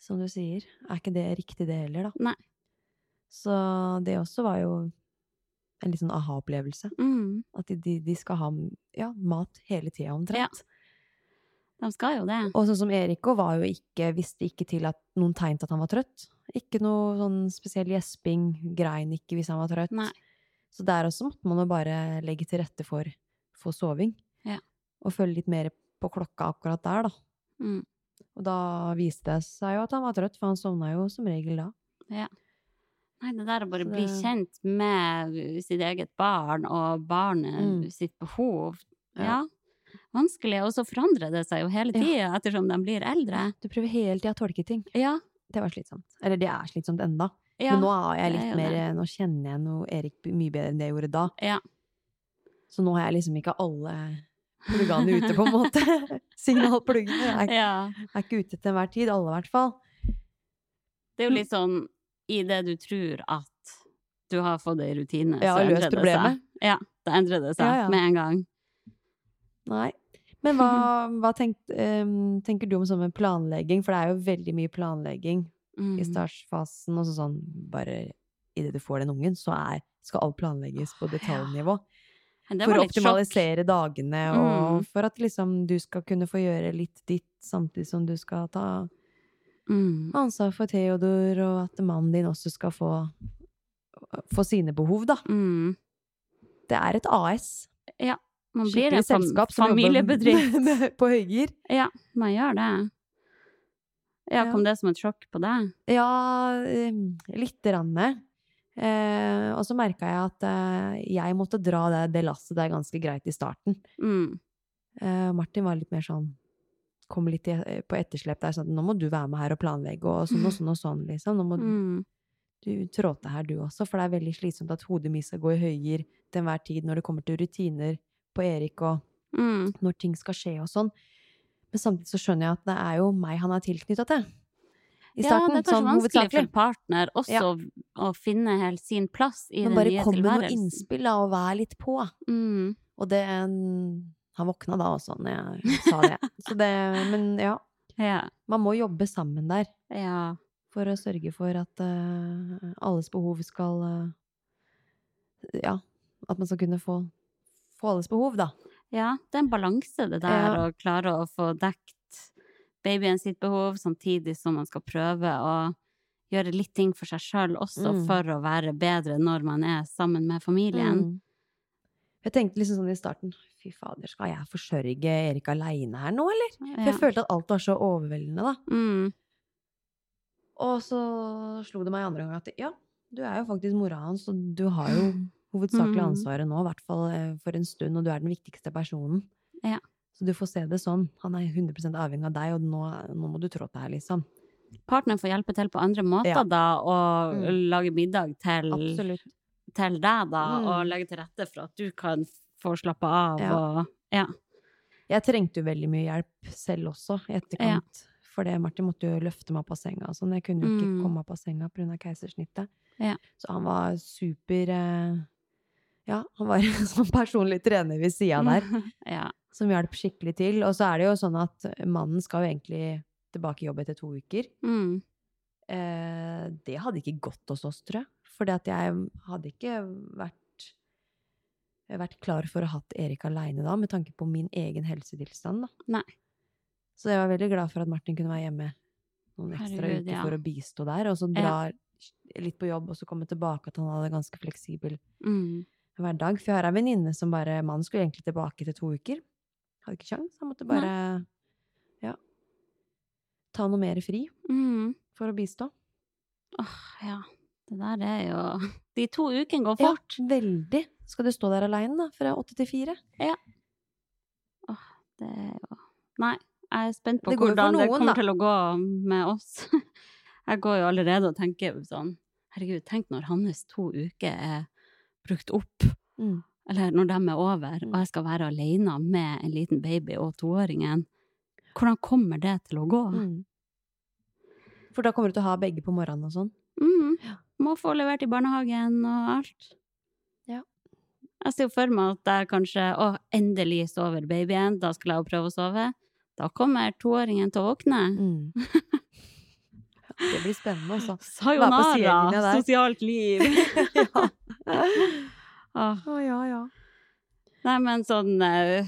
C: som du sier, er ikke det riktig det heller, da.
B: Nei.
C: Så det også var jo en litt sånn aha-opplevelse.
B: Mm.
C: At de- de, de skal ha ja, mat hele tida, omtrent.
B: De skal jo det.
C: Og sånn som Eriko var jo ikke, visste ikke til at noen tegn til at han var trøtt. Ikke noe sånn spesiell gjesping, grein ikke hvis han var trøtt.
B: Nei.
C: Så der også måtte man jo bare legge til rette for, for soving.
B: Ja.
C: Og følge litt mer på klokka akkurat der, da.
B: Mm.
C: Og da viste det seg jo at han var trøtt, for han sovna jo som regel da.
B: Nei, det der å bare
C: Så
B: bli
C: det-
B: kjent med sitt eget barn og barnet
C: Mm.
B: sitt behov, ja.
C: Ja.
B: Vanskelig. Og så forandrer det seg jo hele
C: Ja.
B: tida ettersom de blir eldre.
C: Du prøver hele tida å tolke ting.
B: Ja.
C: Det var slitsomt. Eller det er slitsomt enda.
B: ja.
C: Men nå er jeg
B: det
C: litt
B: er jo
C: mer eh, Nå kjenner jeg noe Erik mye bedre enn det jeg gjorde da.
B: Ja.
C: Så nå har jeg liksom ikke alle pluggene ute, på en måte. Signalpluggene er,
B: ja.
C: er ikke ute til enhver tid, alle i hvert fall.
B: Det er
C: Mm.
B: jo litt sånn i det du tror at du har fått ei rutine,
C: Ja,
B: så
C: og løst
B: endrer det
C: problemet.
B: seg. Ja, da endrer det seg
C: Ja, ja.
B: med en gang.
C: Nei. Men hva, hva tenkt, em, tenker du om sånn med planlegging? For det er jo veldig mye planlegging
B: Mm.
C: i startfasen. Og så sånn bare idet du får den ungen, så er, skal alt planlegges på detaljnivå.
B: Men det
C: For
B: var
C: å
B: litt sjokk. Mm.
C: optimalisere dagene, og for at liksom du skal kunne få gjøre litt ditt, samtidig som du skal ta
B: Mm.
C: ansvar for Theodor, og at mannen din også skal få, få sine behov, da.
B: Mm.
C: Det er et AS.
B: Man blir
C: Skikkelig
B: en fam
C: selskap som
B: familiebedrift.
C: jobber på høygir.
B: Ja, man gjør det. Ja,
C: Ja.
B: kom det som et sjokk på deg?
C: Ja, eh, lite grann. Eh, og så merka jeg at eh, jeg måtte dra det, det lasset der ganske greit i starten.
B: Mm.
C: Eh, Martin var litt mer sånn Kom litt i, på etterslep der. Sånn, at 'Nå må du være med her og planlegge', og sånn og sånn og sånn, liksom. Nå må
B: Mm.
C: du trå til her, du også, for det er veldig slitsomt at hodet mitt skal gå i høygir til enhver tid når det kommer til rutiner på Erik, og
B: Mm.
C: når ting skal skje og sånn. Men samtidig så skjønner jeg at det er jo meg han er tilknytta til. I
B: Ja,
C: starten,
B: det er kanskje
C: sånn
B: vanskelig for
C: hovedsakelig.
B: en partner også
C: Ja.
B: å finne helt sin plass i den
C: Men bare
B: nye
C: kom med noen
B: tilværelsen.
C: innspill da, og vær litt på.
B: Mm.
C: Og det mm, Han våkna da også, når jeg sa det. Så det men ja.
B: Ja.
C: Man må jobbe sammen der
B: ja.
C: for å sørge for at eh, alles behov skal eh, Ja, at man skal kunne få, få alles behov, da.
B: Ja, det er en balanse det der
C: Ja.
B: å klare å få dekt babyen sitt behov, samtidig som man skal prøve å gjøre litt ting for seg sjøl også,
C: Mm.
B: for å være bedre når man er sammen med familien.
C: Mm. Jeg tenkte liksom sånn i starten Fy fader, skal jeg forsørge Erik aleine her nå, eller? For jeg
B: Ja.
C: følte at alt var så overveldende, da.
B: Mm.
C: Og så slo det meg i andre gang at ja, du er jo faktisk mora hans, og du har jo hovedsakelig
B: Mm.
C: ansvaret nå, i hvert fall eh, for en stund, og du er den viktigste personen.
B: Ja.
C: Så du får se det sånn. Han er 100 avhengig av deg, og nå, nå må du trå til her, liksom.
B: Partneren får hjelpe til på andre måter,
C: Ja.
B: da, og
C: Mm.
B: lage middag til,
C: Absolutt.
B: til deg, da,
C: Mm.
B: og legge til rette for at du kan få slappe av
C: Ja.
B: og Ja.
C: Jeg trengte jo veldig mye hjelp selv også, i etterkant. For det, Martin måtte jo løfte meg opp av senga og sånn. Jeg kunne jo ikke
B: Mm.
C: komme opp av senga pga. keisersnittet.
B: Ja.
C: Så han var super eh, Ja, han var en sånn personlig trener ved sida der.
B: ja.
C: som hjalp skikkelig til. Og så er det jo sånn at mannen skal jo egentlig tilbake i jobb etter to uker.
B: Mm.
C: Eh, det hadde ikke gått hos oss, tror jeg. For jeg hadde ikke vært, vært klar for å ha hatt Erik aleine da, med tanke på min egen helsetilstand. Da.
B: Nei.
C: Så jeg var veldig glad for at Martin kunne være hjemme noen ekstra
B: Herregud,
C: uker
B: ja.
C: for å bistå der, og så dra litt på jobb, og så komme tilbake at han hadde en ganske fleksibel
B: Mm.
C: hver dag. For jeg har ei venninne som bare Mannen skulle egentlig tilbake til to uker. Hadde ikke kjangs. Han måtte bare ja, ta noe mer fri
B: Mm.
C: for å bistå.
B: Åh, ja. Det der er jo De to ukene går
C: Ja,
B: fort.
C: veldig. Skal du stå der aleine, da? Fra åtte til fire?
B: Det er jo Nei, jeg er spent på
C: Det går jo for
B: hvordan det
C: noen,
B: kommer
C: da.
B: til å gå med oss. Jeg går jo allerede og tenker sånn Herregud, tenk når hans to uker er brukt opp,
C: Mm.
B: eller når de er over, og jeg skal være alene med en liten baby og toåringen. Hvordan kommer det til å gå?
C: Mm. For da kommer du til å ha begge på morgenen og sånn?
B: Mm.
C: Ja.
B: Må få levert i barnehagen og alt.
C: Ja.
B: Jeg ser jo for meg at jeg kanskje Å, endelig sover babyen, da skal jeg jo prøve å sove. Da kommer toåringen til å våkne.
C: Mm. Ja, det blir spennende, altså. Være på sidelinja
B: Sayonara,
C: der.
B: sosialt liv.
C: ja.
B: Åh.
C: Å, ja, ja.
B: Nei, men sånn eh,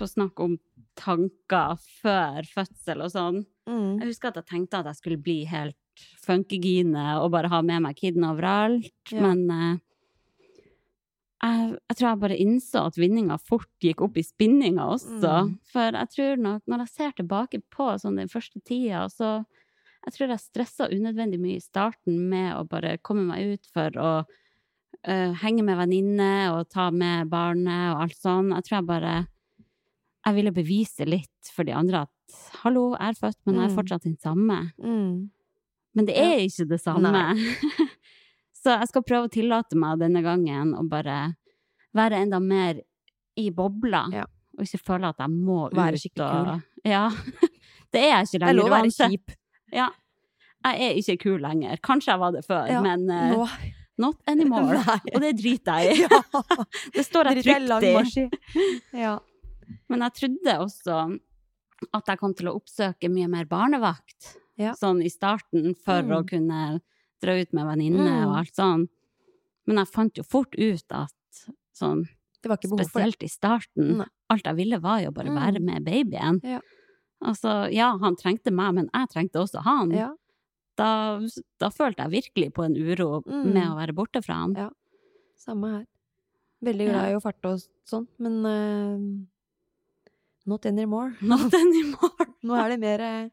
B: På snakk om tanker før fødsel og sånn.
C: Mm.
B: Jeg husker at jeg tenkte at jeg skulle bli helt funkygine og bare ha med meg kiden overalt,
C: Ja.
B: men eh, jeg, jeg tror jeg bare innså at vinninga fort gikk opp i spinninga også.
C: Mm.
B: For jeg tror nok, når jeg ser tilbake på sånn den første tida, så jeg tror jeg stressa unødvendig mye i starten med å bare komme meg ut for å eh, henge med venninner og ta med barnet og alt sånn. Jeg tror jeg bare Jeg ville bevise litt for de andre at hallo, jeg er født, men jeg er
C: Mm.
B: fortsatt den samme.
C: Mm.
B: Men det er ikke det samme. Så jeg skal prøve å tillate meg denne gangen å bare være enda mer i bobla.
C: Ja.
B: Og ikke føle at jeg må ut.
C: Være skikkelig
B: og- Ja. Det er jeg ikke lenger.
C: Det er lov å være
B: uansett.
C: kjip.
B: Ja. Jeg er ikke kul lenger. Kanskje jeg var det før,
C: Ja,
B: men eh,
C: Nå
B: not anymore.
C: Nei.
B: Og det driter jeg i.
C: Ja.
B: Det står jeg
C: Drit i en
B: trygt
C: lang
B: i.
C: marsj i. Ja.
B: Men jeg trodde også at jeg kom til å oppsøke mye mer barnevakt
C: Ja.
B: sånn i starten, for
C: Mm.
B: å kunne dra ut med venninner og
C: Mm.
B: alt sånn. Men jeg fant jo fort ut at sånn,
C: Det var ikke behov for det.
B: spesielt i starten,
C: Nei.
B: alt jeg ville var jo bare
C: Mm.
B: være med babyen.
C: Ja.
B: Altså, ja, han trengte meg, men jeg trengte også han.
C: Ja.
B: Da, da følte jeg virkelig på en uro
C: Mm.
B: med å være borte fra han.
C: Ja. Samme her. Veldig glad i å farte og sånn, men eh, not anymore.
B: Not anymore.
C: Nå er det mer eh,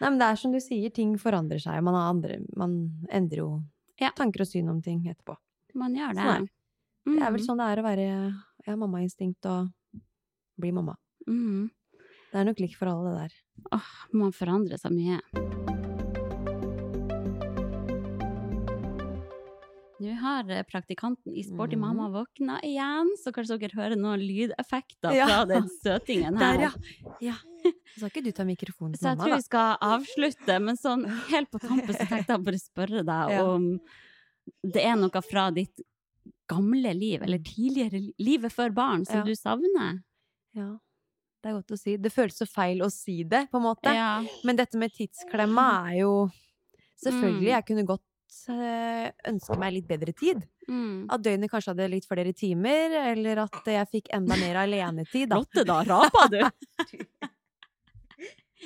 C: Nei, men det er som du sier, ting forandrer seg. Man, har andre, man endrer jo
B: Ja.
C: tanker og syn om ting etterpå.
B: Man gjør det.
C: Sånn Det er vel
B: Mm.
C: sånn det er å være ja, mammainstinkt og bli mamma.
B: Mm.
C: Det er nok likt for alle, det der.
B: Åh, man forandrer seg mye. Nå har eh, praktikanten i Sporty
C: Mhm.
B: mamma våkna igjen, så kanskje dere hører noen lydeffekter
C: Ja.
B: fra den søtingen her.
C: Der, ja. ja. Skal ikke altså. du ta mikrofonen til
B: Så jeg
C: mamma,
B: tror
C: da?
B: vi skal avslutte, men sånn helt på tampen så tenkte jeg bare spørre deg
C: Ja.
B: om det er noe fra ditt gamle liv, eller tidligere li- livet før barn, som
C: Ja.
B: du savner.
C: Ja. Det er godt å si. Det føles så feil å si det, på en måte.
B: Ja.
C: Men dette med tidsklemma er jo Selvfølgelig, jeg kunne godt eh, ønske meg litt bedre tid.
B: Mm.
C: At døgnet kanskje hadde litt flere timer, eller at jeg fikk enda mer alenetid, da.
B: Lotte, da rapa du!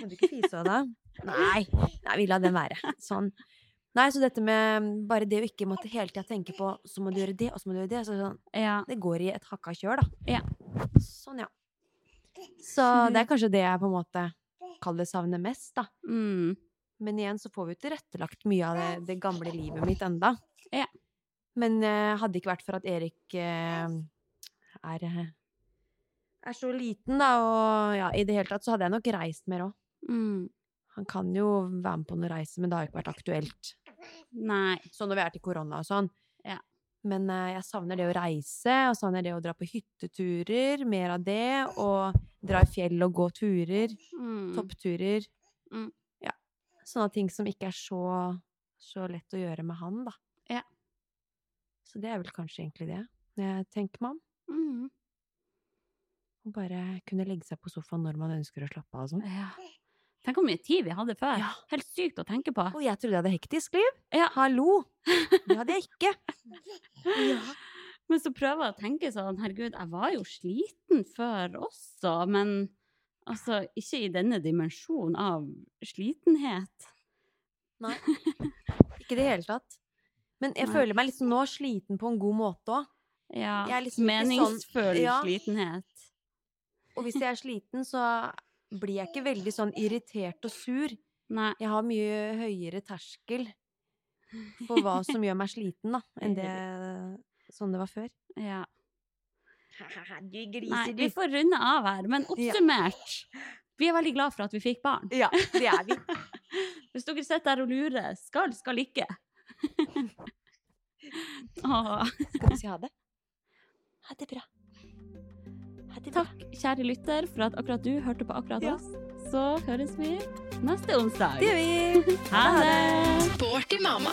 C: Må du ikke fise av deg? Nei, nei, vi lar den være. Sånn. Nei, så dette med bare det å ikke måtte hele tida tenke på så må du gjøre det, og så må du gjøre det. Så sånn,
B: Ja.
C: det går i et hakka kjør, da.
B: Ja.
C: Sånn, ja. Så det er kanskje det jeg på en måte kaller savner mest, da.
B: Mm.
C: Men igjen så får vi jo tilrettelagt mye av det, det gamle livet mitt enda.
B: Ja.
C: Men eh, hadde det ikke vært for at Erik eh, er, eh, er så liten, da, og ja, i det hele tatt, så hadde jeg nok reist mer òg.
B: Mm.
C: Han kan jo være med på noen reiser, men det har jo ikke vært aktuelt.
B: Nei.
C: Sånn når vi er til korona og sånn.
B: Ja.
C: Men eh, jeg savner det å reise, og savner det å dra på hytteturer, mer av det, og dra i fjell og gå turer,
B: Mm.
C: toppturer.
B: Mm.
C: Ja. Sånne ting som ikke er så, så lett å gjøre med han, da.
B: Ja.
C: Så det er vel kanskje egentlig det jeg tenker meg om.
B: Mm.
C: Å bare kunne legge seg på sofaen når man ønsker å slappe av og sånn.
B: Ja. Tenk hvor mye tid vi hadde før.
C: Ja.
B: Helt sykt å tenke på.
C: Og jeg trodde jeg hadde hektisk liv!
B: Ja.
C: Hallo! Det hadde jeg ikke.
B: Men så prøver jeg å tenke sånn, herregud, jeg var jo sliten før også, men altså ikke i denne dimensjonen av slitenhet.
C: Nei. Ikke i det hele tatt. Men jeg
B: Nei.
C: føler meg liksom nå sliten på en god måte òg.
B: Ja,
C: Jeg er liksom ikke sånn-
B: meningsfull
C: Ja.
B: slitenhet.
C: Og hvis jeg er sliten, så blir jeg ikke veldig sånn irritert og sur.
B: Nei,
C: Jeg har mye høyere terskel for hva som gjør meg sliten, da, enn det sånn det var før.
B: ja.
C: Du
B: Nei, vi får runde av her, men oppsummert. Vi er veldig glad for at vi fikk barn.
C: Ja, det er vi.
B: Hvis dere sitter der og lurer, skal, skal ikke. Åh.
C: Skal vi si ha det? Ha det bra. Ha det bra.
B: Takk, kjære lytter, for at akkurat du hørte på akkurat oss. Så høres vi neste onsdag.
C: Det gjør vi.
B: Ha det!
G: Sporty mamma.